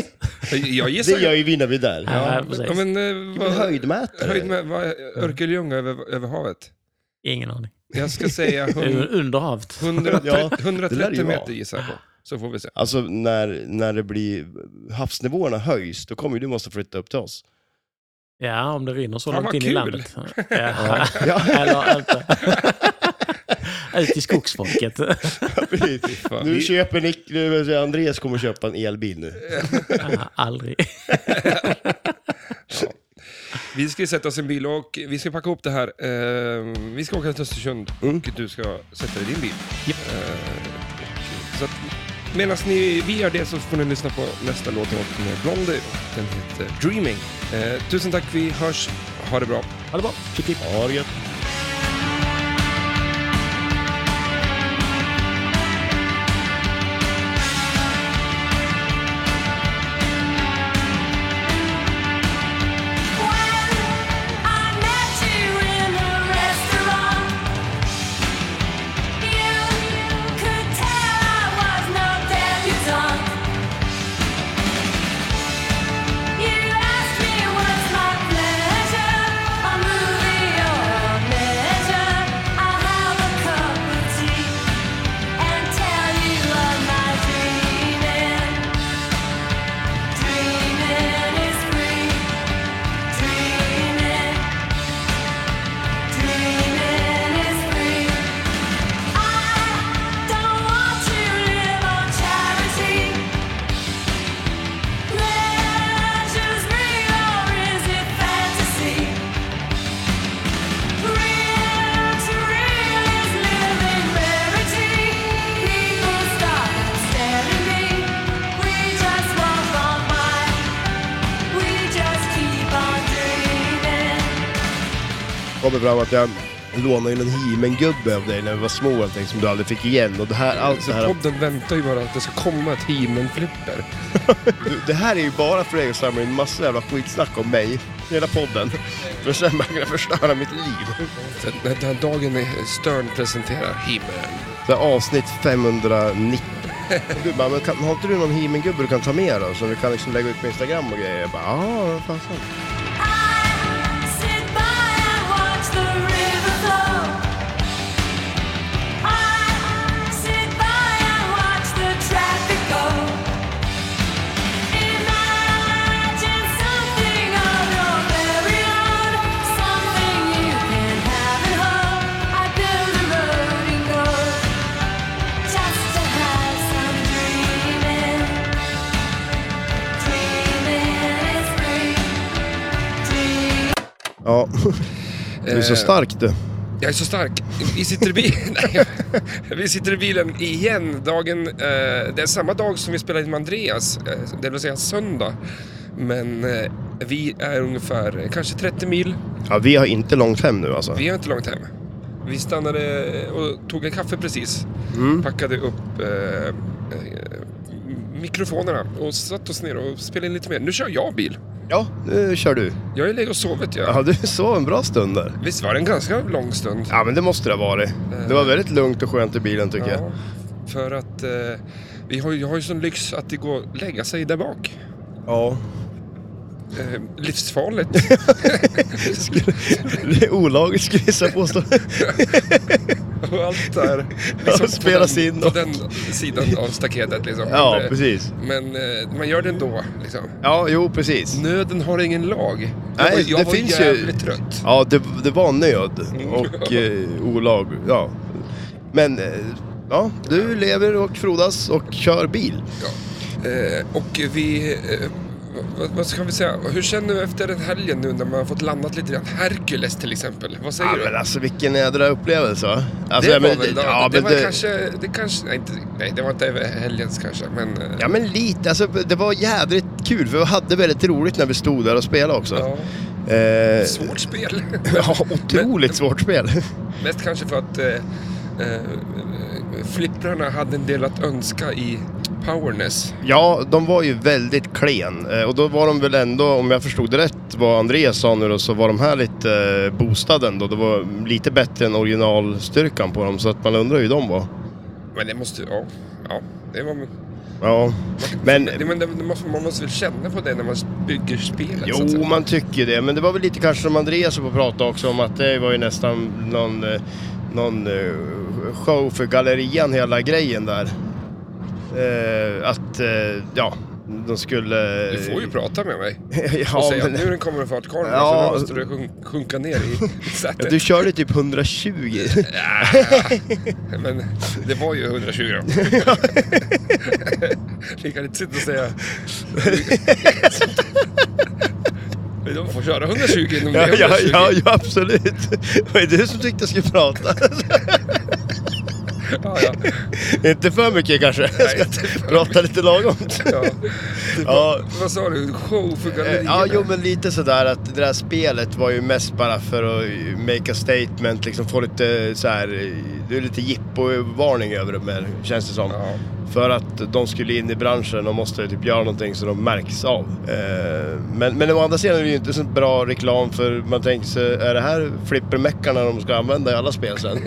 Jag Det gissar... gör ju vi när vi är där. Ja, ja, precis. men, ja, men, eh, vad, höjd. Höjdmätare. med, vad, är- Örkeljunga över, över havet? Ingen aning. Jag ska säga Det är ju hund- Under havet. 100, Ja, det 130 vara. meter gissar jag på. Så får vi se. Alltså när, när det blir havsnivåerna höjs, då kommer ju du måste flytta upp till oss. Ja, om det rinner så Fan, långt vad in i kul. landet. Ja. Eller inte. Ut till skogsfolket. Fan. nu köper Nick, nu, Andreas kommer köpa en elbil nu. Ja, Aldrig. Vi ska ju sätta oss i en bil och vi ska packa ihop det här. Eh, vi ska åka till Östersund och du ska sätta dig i din bil. Eh, så att Medan ni, vi gör det så får ni lyssna på nästa låt med Blondie. Den heter Dreaming. Eh, tusen tack, vi hörs. Ha det bra. Ha det bra. Chip, chip. Ha det gött. kommer fram att jag lånade ju någon He-Man-gubbe av dig när vi var små, och som du aldrig fick igen. Och det här, allt Alltså, det här, podden väntar ju bara att det ska komma ett He-Man-flipper. du, det här är ju bara för dig att samla in massa jävla skitsnack om mig, hela podden. För att sen bara kunna förstöra mitt liv. Så att Den här dagen är Stern presenterar He-Man. Det här avsnitt 590. Du bara, men kan, har inte du någon He-Man-gubbe du kan ta med då? Som du kan liksom lägga ut på Instagram och grejer. Jag bara, ja, vad fan sant. Just to have some dreaming, dreaming is free. Ja, du är så stark du. Jag är så stark. Vi sitter i bilen. vi sitter i bilen igen. Dagen, eh, det är samma dag som vi spelade in med Andreas, eh, det vill säga söndag. Men eh, vi är ungefär eh, kanske 30 mil. Ja, vi har inte långt hem nu alltså. Vi är inte långt hem. Vi stannade och tog en kaffe precis. Packade upp eh, eh, mikrofonerna och satt oss ner och spelade in lite mer. Nu kör jag bil. Ja, nu kör du. Jag har ju legat och sovit. Jag. Ja, du sov en bra stund där. Visst var det en ganska lång stund? Ja, men det måste det ha varit. Det var väldigt lugnt och skönt i bilen tycker jag. För att eh, vi har, ju- jag har ju sån lyx att det går att lägga sig där bak. Ja. Eh, livsfarligt. Det är olagligt skulle jag gissa påstå. och allt där. liksom, Ja, spelas på den, in På och- den sidan av staketet liksom. Ja, men, eh, precis. men eh, man gör det ändå liksom. Ja, jo precis. Nöden har ingen lag. Jag Nej, var, jag det var finns ju- jävligt trött. Ja, det, det var nöd och eh, olag. Ja. Men eh, ja, du lever och frodas och kör bil. Eh, och vi... Eh, vad, vad ska vi säga? Hur känner du efter den helgen nu när man har fått landat lite grann? Hercules till exempel. Vad säger Ja, du? men alltså vilken jädra upplevelse va? Alltså, det ja, var men, väl då, ja, det men var kanske, det kanske, nej, inte, nej det var inte över helgens kanske, men... eh, Ja men lite, alltså det var jädrigt kul för vi hade väldigt roligt när vi stod där och spelade också. ja, Eh, svårt spel. ja otroligt svårt spel. Mest kanske för att eh, eh, flipprarna hade en del att önska i powerness. Ja, de var ju väldigt klen Eh, och då var de väl ändå, om jag förstod det rätt vad Andreas sa nu då, så var de här lite eh, boostade ändå. Det var lite bättre än originalstyrkan på dem så att man undrar hur de var. Men det måste, ja, ja det var... Ja, men Det, men det, det måste, man måste väl känna på det när man bygger spelet? så att jo säga. man tycker ju det. Men det var väl lite kanske som Andreas var på prata också om att det var ju nästan någon, eh, någon eh, show för gallerian hela grejen där. Eh, att, eh, ja, de skulle... Du får ju prata med mig och ja, säga men... att nu den kommer en fartkarl, Ja. så nu måste du sjunk- sjunka ner i sätet. Du körde typ 120. Men det var ju 120 gram. Vi kan inte sitta och säga... Men De får köra 120 inom Ja, det. ja, 120. ja, ja absolut. Vad är det du som tyckte jag skulle prata? Ja, ja. Inte för mycket kanske. Jag ska prata lite lagom. Ja. Ja. Vad sa du? Show för Eh, galleriet? Ja, jo men lite sådär att det där spelet var ju mest bara för att make a statement, liksom få lite så här, eh, det är lite jippo-varning över det mer, känns det som. Ja. För att de skulle in i branschen och måste typ göra någonting så de märks av. Eh, Men, men å andra sidan är det ju inte så bra reklam för man tänker sig, är det här flippermeckarna de ska använda i alla spel sen?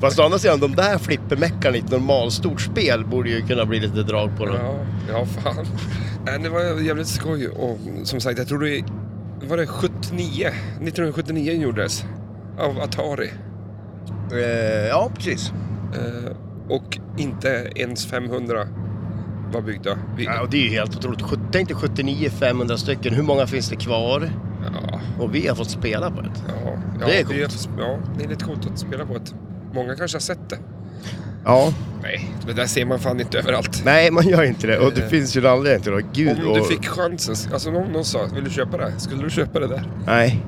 Fast å andra sidan, de där flippermeckarna i ett normalstort spel borde ju kunna bli lite drag på dem. Ja, ja fan. Nej, det var jävligt skoj och som sagt, jag tror det var det 79, 1979 gjordes av Atari. Eh, Ja, precis. Eh, och inte ens 500 var byggda. Vi, Ja, ja. och det är ju helt otroligt. Sjut- Tänk dig 79 500 stycken. Hur många finns det kvar? Ja, Och vi har fått spela på ett. ja, Det är ja, det är lite coolt att spela på ett. Många kanske har sett det. Ja. Nej, det där ser man fan inte överallt. Nej, man gör inte det. Och det finns ju en anledning till det. Gud Om du och... fick chansen, alltså någon, någon sa, vill du köpa det? Skulle du köpa det där? Nej.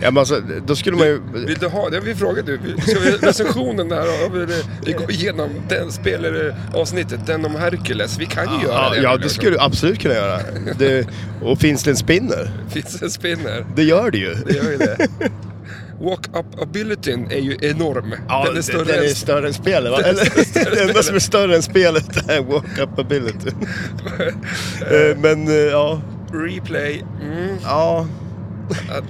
Ja, men alltså, då skulle man ju... Vill du ha det? Vi frågade du. Ska vi recensionen där och vi, vi går igenom den spelare avsnittet, den om Hercules. Vi kan ju göra Ja, det. ja, det skulle du absolut kunna göra. Det... Och finns det en spinner? Finns en spinner. Det gör det ju. Det gör ju det. Walk-up-abilityn är ju enorm. Ja, den är större den är än... större än spelet va? Eller, det enda som är större än spelet är walk-up ability. Eh, Men eh, ja, Replay. Mm, ja, att,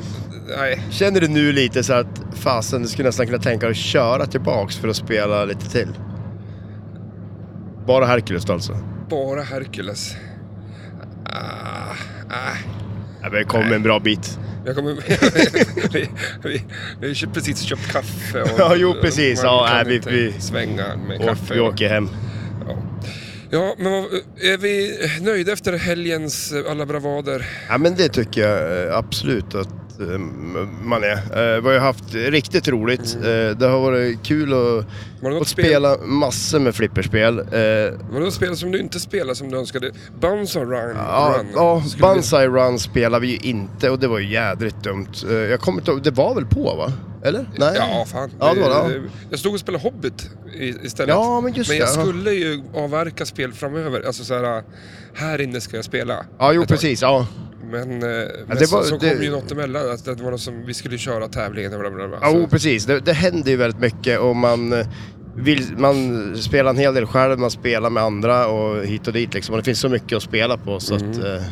nej. Känner du nu lite så att fasen, du skulle nästan kunna tänka dig att köra tillbaks för att spela lite till? Bara Hercules då, alltså? Bara Hercules. Ah, ah. Ja, men kom en bra bit. Jag kommer... vi, vi, vi har ju precis köpt kaffe. Och, Ja, jo, precis. man Ja, kan nej, vi- inte vi- Svänga med Och kaffe. vi åker hem. Ja. ja, men vad- är vi nöjda efter helgens eh, alla bravader? Ja men det tycker jag eh, absolut att eh, man är. Eh, Vi har ju haft riktigt roligt. Eh, Det har varit kul att, Var det något att spela massor med flipperspel. Eh, Var det något spel som du inte spelade som du önskade? Bounce on Run? Ja, run. ja Skulle vi- Banzai Run spelade vi ju inte och det var ju jädrigt dumt. Eh, Jag kommer inte ihåg, det var väl på va? Eller? Nej? Ja, fan. Eh, Ja, det var det. Ja. Jag stod och spelade Hobbit i- istället. Ja, men just men jag det, ja. skulle ju avverka spel framöver. Alltså så här, här inne ska jag spela. Ja, jo ett tag. precis. Ja. Men, eh, men det så, var- så det- kom ju något emellan. Att det var något som, vi skulle köra tävlingen och bla bla bla. Ja, Så- jo, precis. Det, det händer ju väldigt mycket och man, eh, vill, man spelar en hel del själv, man spelar med andra och hit och dit liksom. Och det finns så mycket att spela på så Mm. att... eh,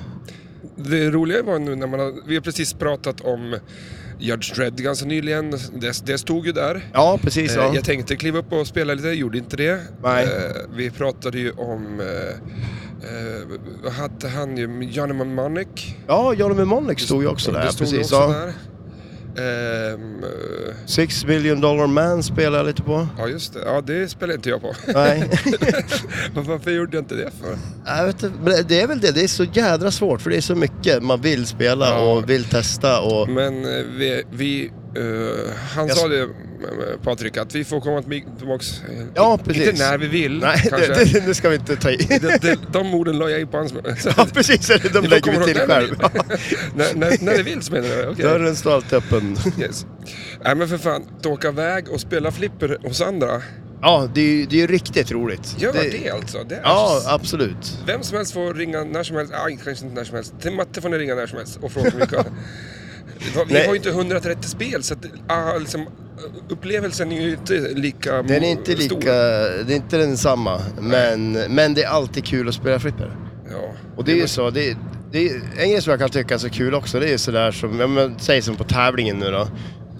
Det roliga var nu när man har, vi har precis pratat om Judge Dredd ganska nyligen. Det, det stod ju där. ja, precis. Eh, Ja. Jag tänkte kliva upp och spela lite, gjorde inte det. Nej. Eh, Vi pratade ju om... eh, eh, Vad hade han ju? Johnny Mnemonic. Ja, Johnny Mnemonic stod ju också där. det stod ju precis, också ja. där. Ehm, eh, Six million dollar man spelade jag lite på. Ja, just det. Ja, det spelar inte jag på. Nej, Men Varför gjorde jag inte det för? jag vet inte, men det är väl det. Det är så jädra svårt för det är så mycket man vill spela Ja. och vill testa och... Men eh, vi... vi eh, han Jag sa s- det, eh, Patrik, att vi får komma tillbaka. eh, Ja, i- precis. Inte när vi vill, Nej, det, kanske. det, det ska vi inte ta i. De, de, de orden la jag in på hans mun. Så- Ja, precis. eller De De lägger kommer vi till åt själv. den. när, när, när det vill så menar jag. Okej. Dörren står alltid öppen. Yes. Nej men för fan, att åka iväg och spela flipper hos andra. Ja, det är ju det är riktigt roligt. Gör det, alltså. Det är Ja, absolut. Vem som helst får ringa när som helst, aj, kanske inte när som helst. Till Matte får ni ringa när som helst och fråga hur mycket. Vi Nej. har ju inte 130 spel så att, ah, liksom, upplevelsen är ju inte lika Den är inte stor. lika, det är inte densamma, men, men det är alltid kul att spela flipper. Ja. Och det är ju så, det, det är, en grej som jag kan tycka är så kul också, det är ju sådär som, ja, men, säg som på tävlingen nu då.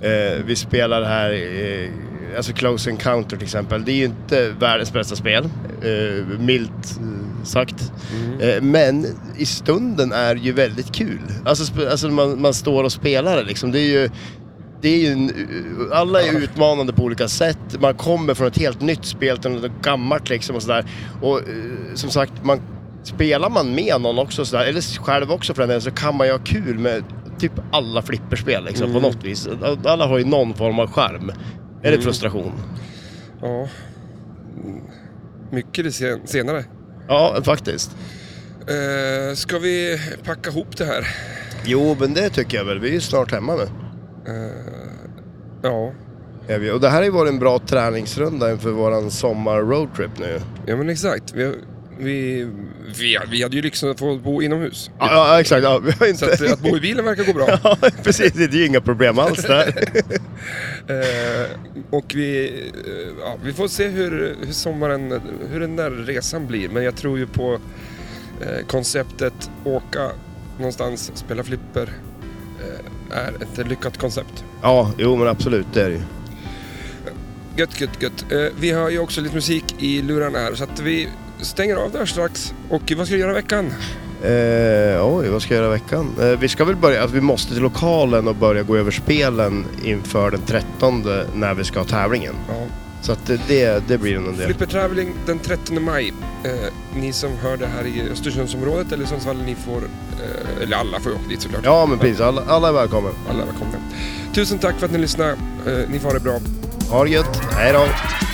Eh, vi spelar här, eh, alltså Close Encounter till exempel, det är ju inte världens bästa spel, eh, milt eh, sagt. Eh, men i stunden är det ju väldigt kul. Alltså, sp- alltså man, man står och spelar det liksom, det är ju det är ju en, alla är utmanande på olika sätt. Man kommer från ett helt nytt spel till något gammalt liksom och sådär. Och eh, som sagt, man, spelar man med någon också sådär, eller själv också för den delen, så kan man ju ha kul med typ alla flipperspel liksom på något vis. Alla har ju någon form av charm. Eller frustration. ja. Mm. Mycket det sen- senare. Ja, faktiskt. Eh, ska vi packa ihop det här? Jo, men det tycker jag väl. Vi är ju snart hemma nu. Ja. Är vi. Och det här har ju varit en bra träningsrunda inför våran sommar roadtrip nu. Ja, men exakt. Vi, vi, vi, vi hade ju lyxen att få bo inomhus. Ja, ja exakt. Ja, vi har Så inte... att, att bo i bilen verkar gå bra. Ja, precis. Det är ju inga problem alls där. Eh, och vi, eh, ja, vi får se hur, hur sommaren, hur den där resan blir. Men jag tror ju på eh, konceptet åka någonstans, spela flipper. Eh, är ett lyckat koncept. Ja, jo men absolut, det är det ju. Gött, gött, gött. Eh, vi har ju också lite musik i lurarna här så att vi stänger av där strax. Och vad ska du göra i veckan? Eh, oj, vad ska jag göra i veckan? Eh, vi ska väl börja, alltså, vi måste till lokalen och börja gå över spelen inför den 13 när vi ska ha tävlingen. Ja. Så att det- det, det blir nog en del. Flipper Traveling den 13 maj. Eh, ni som hör det här i Östersundsområdet eller Sundsvall, ni får, eh, eller alla får ju åka dit såklart. Ja men precis, alla, alla är välkomna. Alla är välkomna. Tusen tack för att ni lyssnade. Eh, ni får ha det bra. Ha det gött, hej då!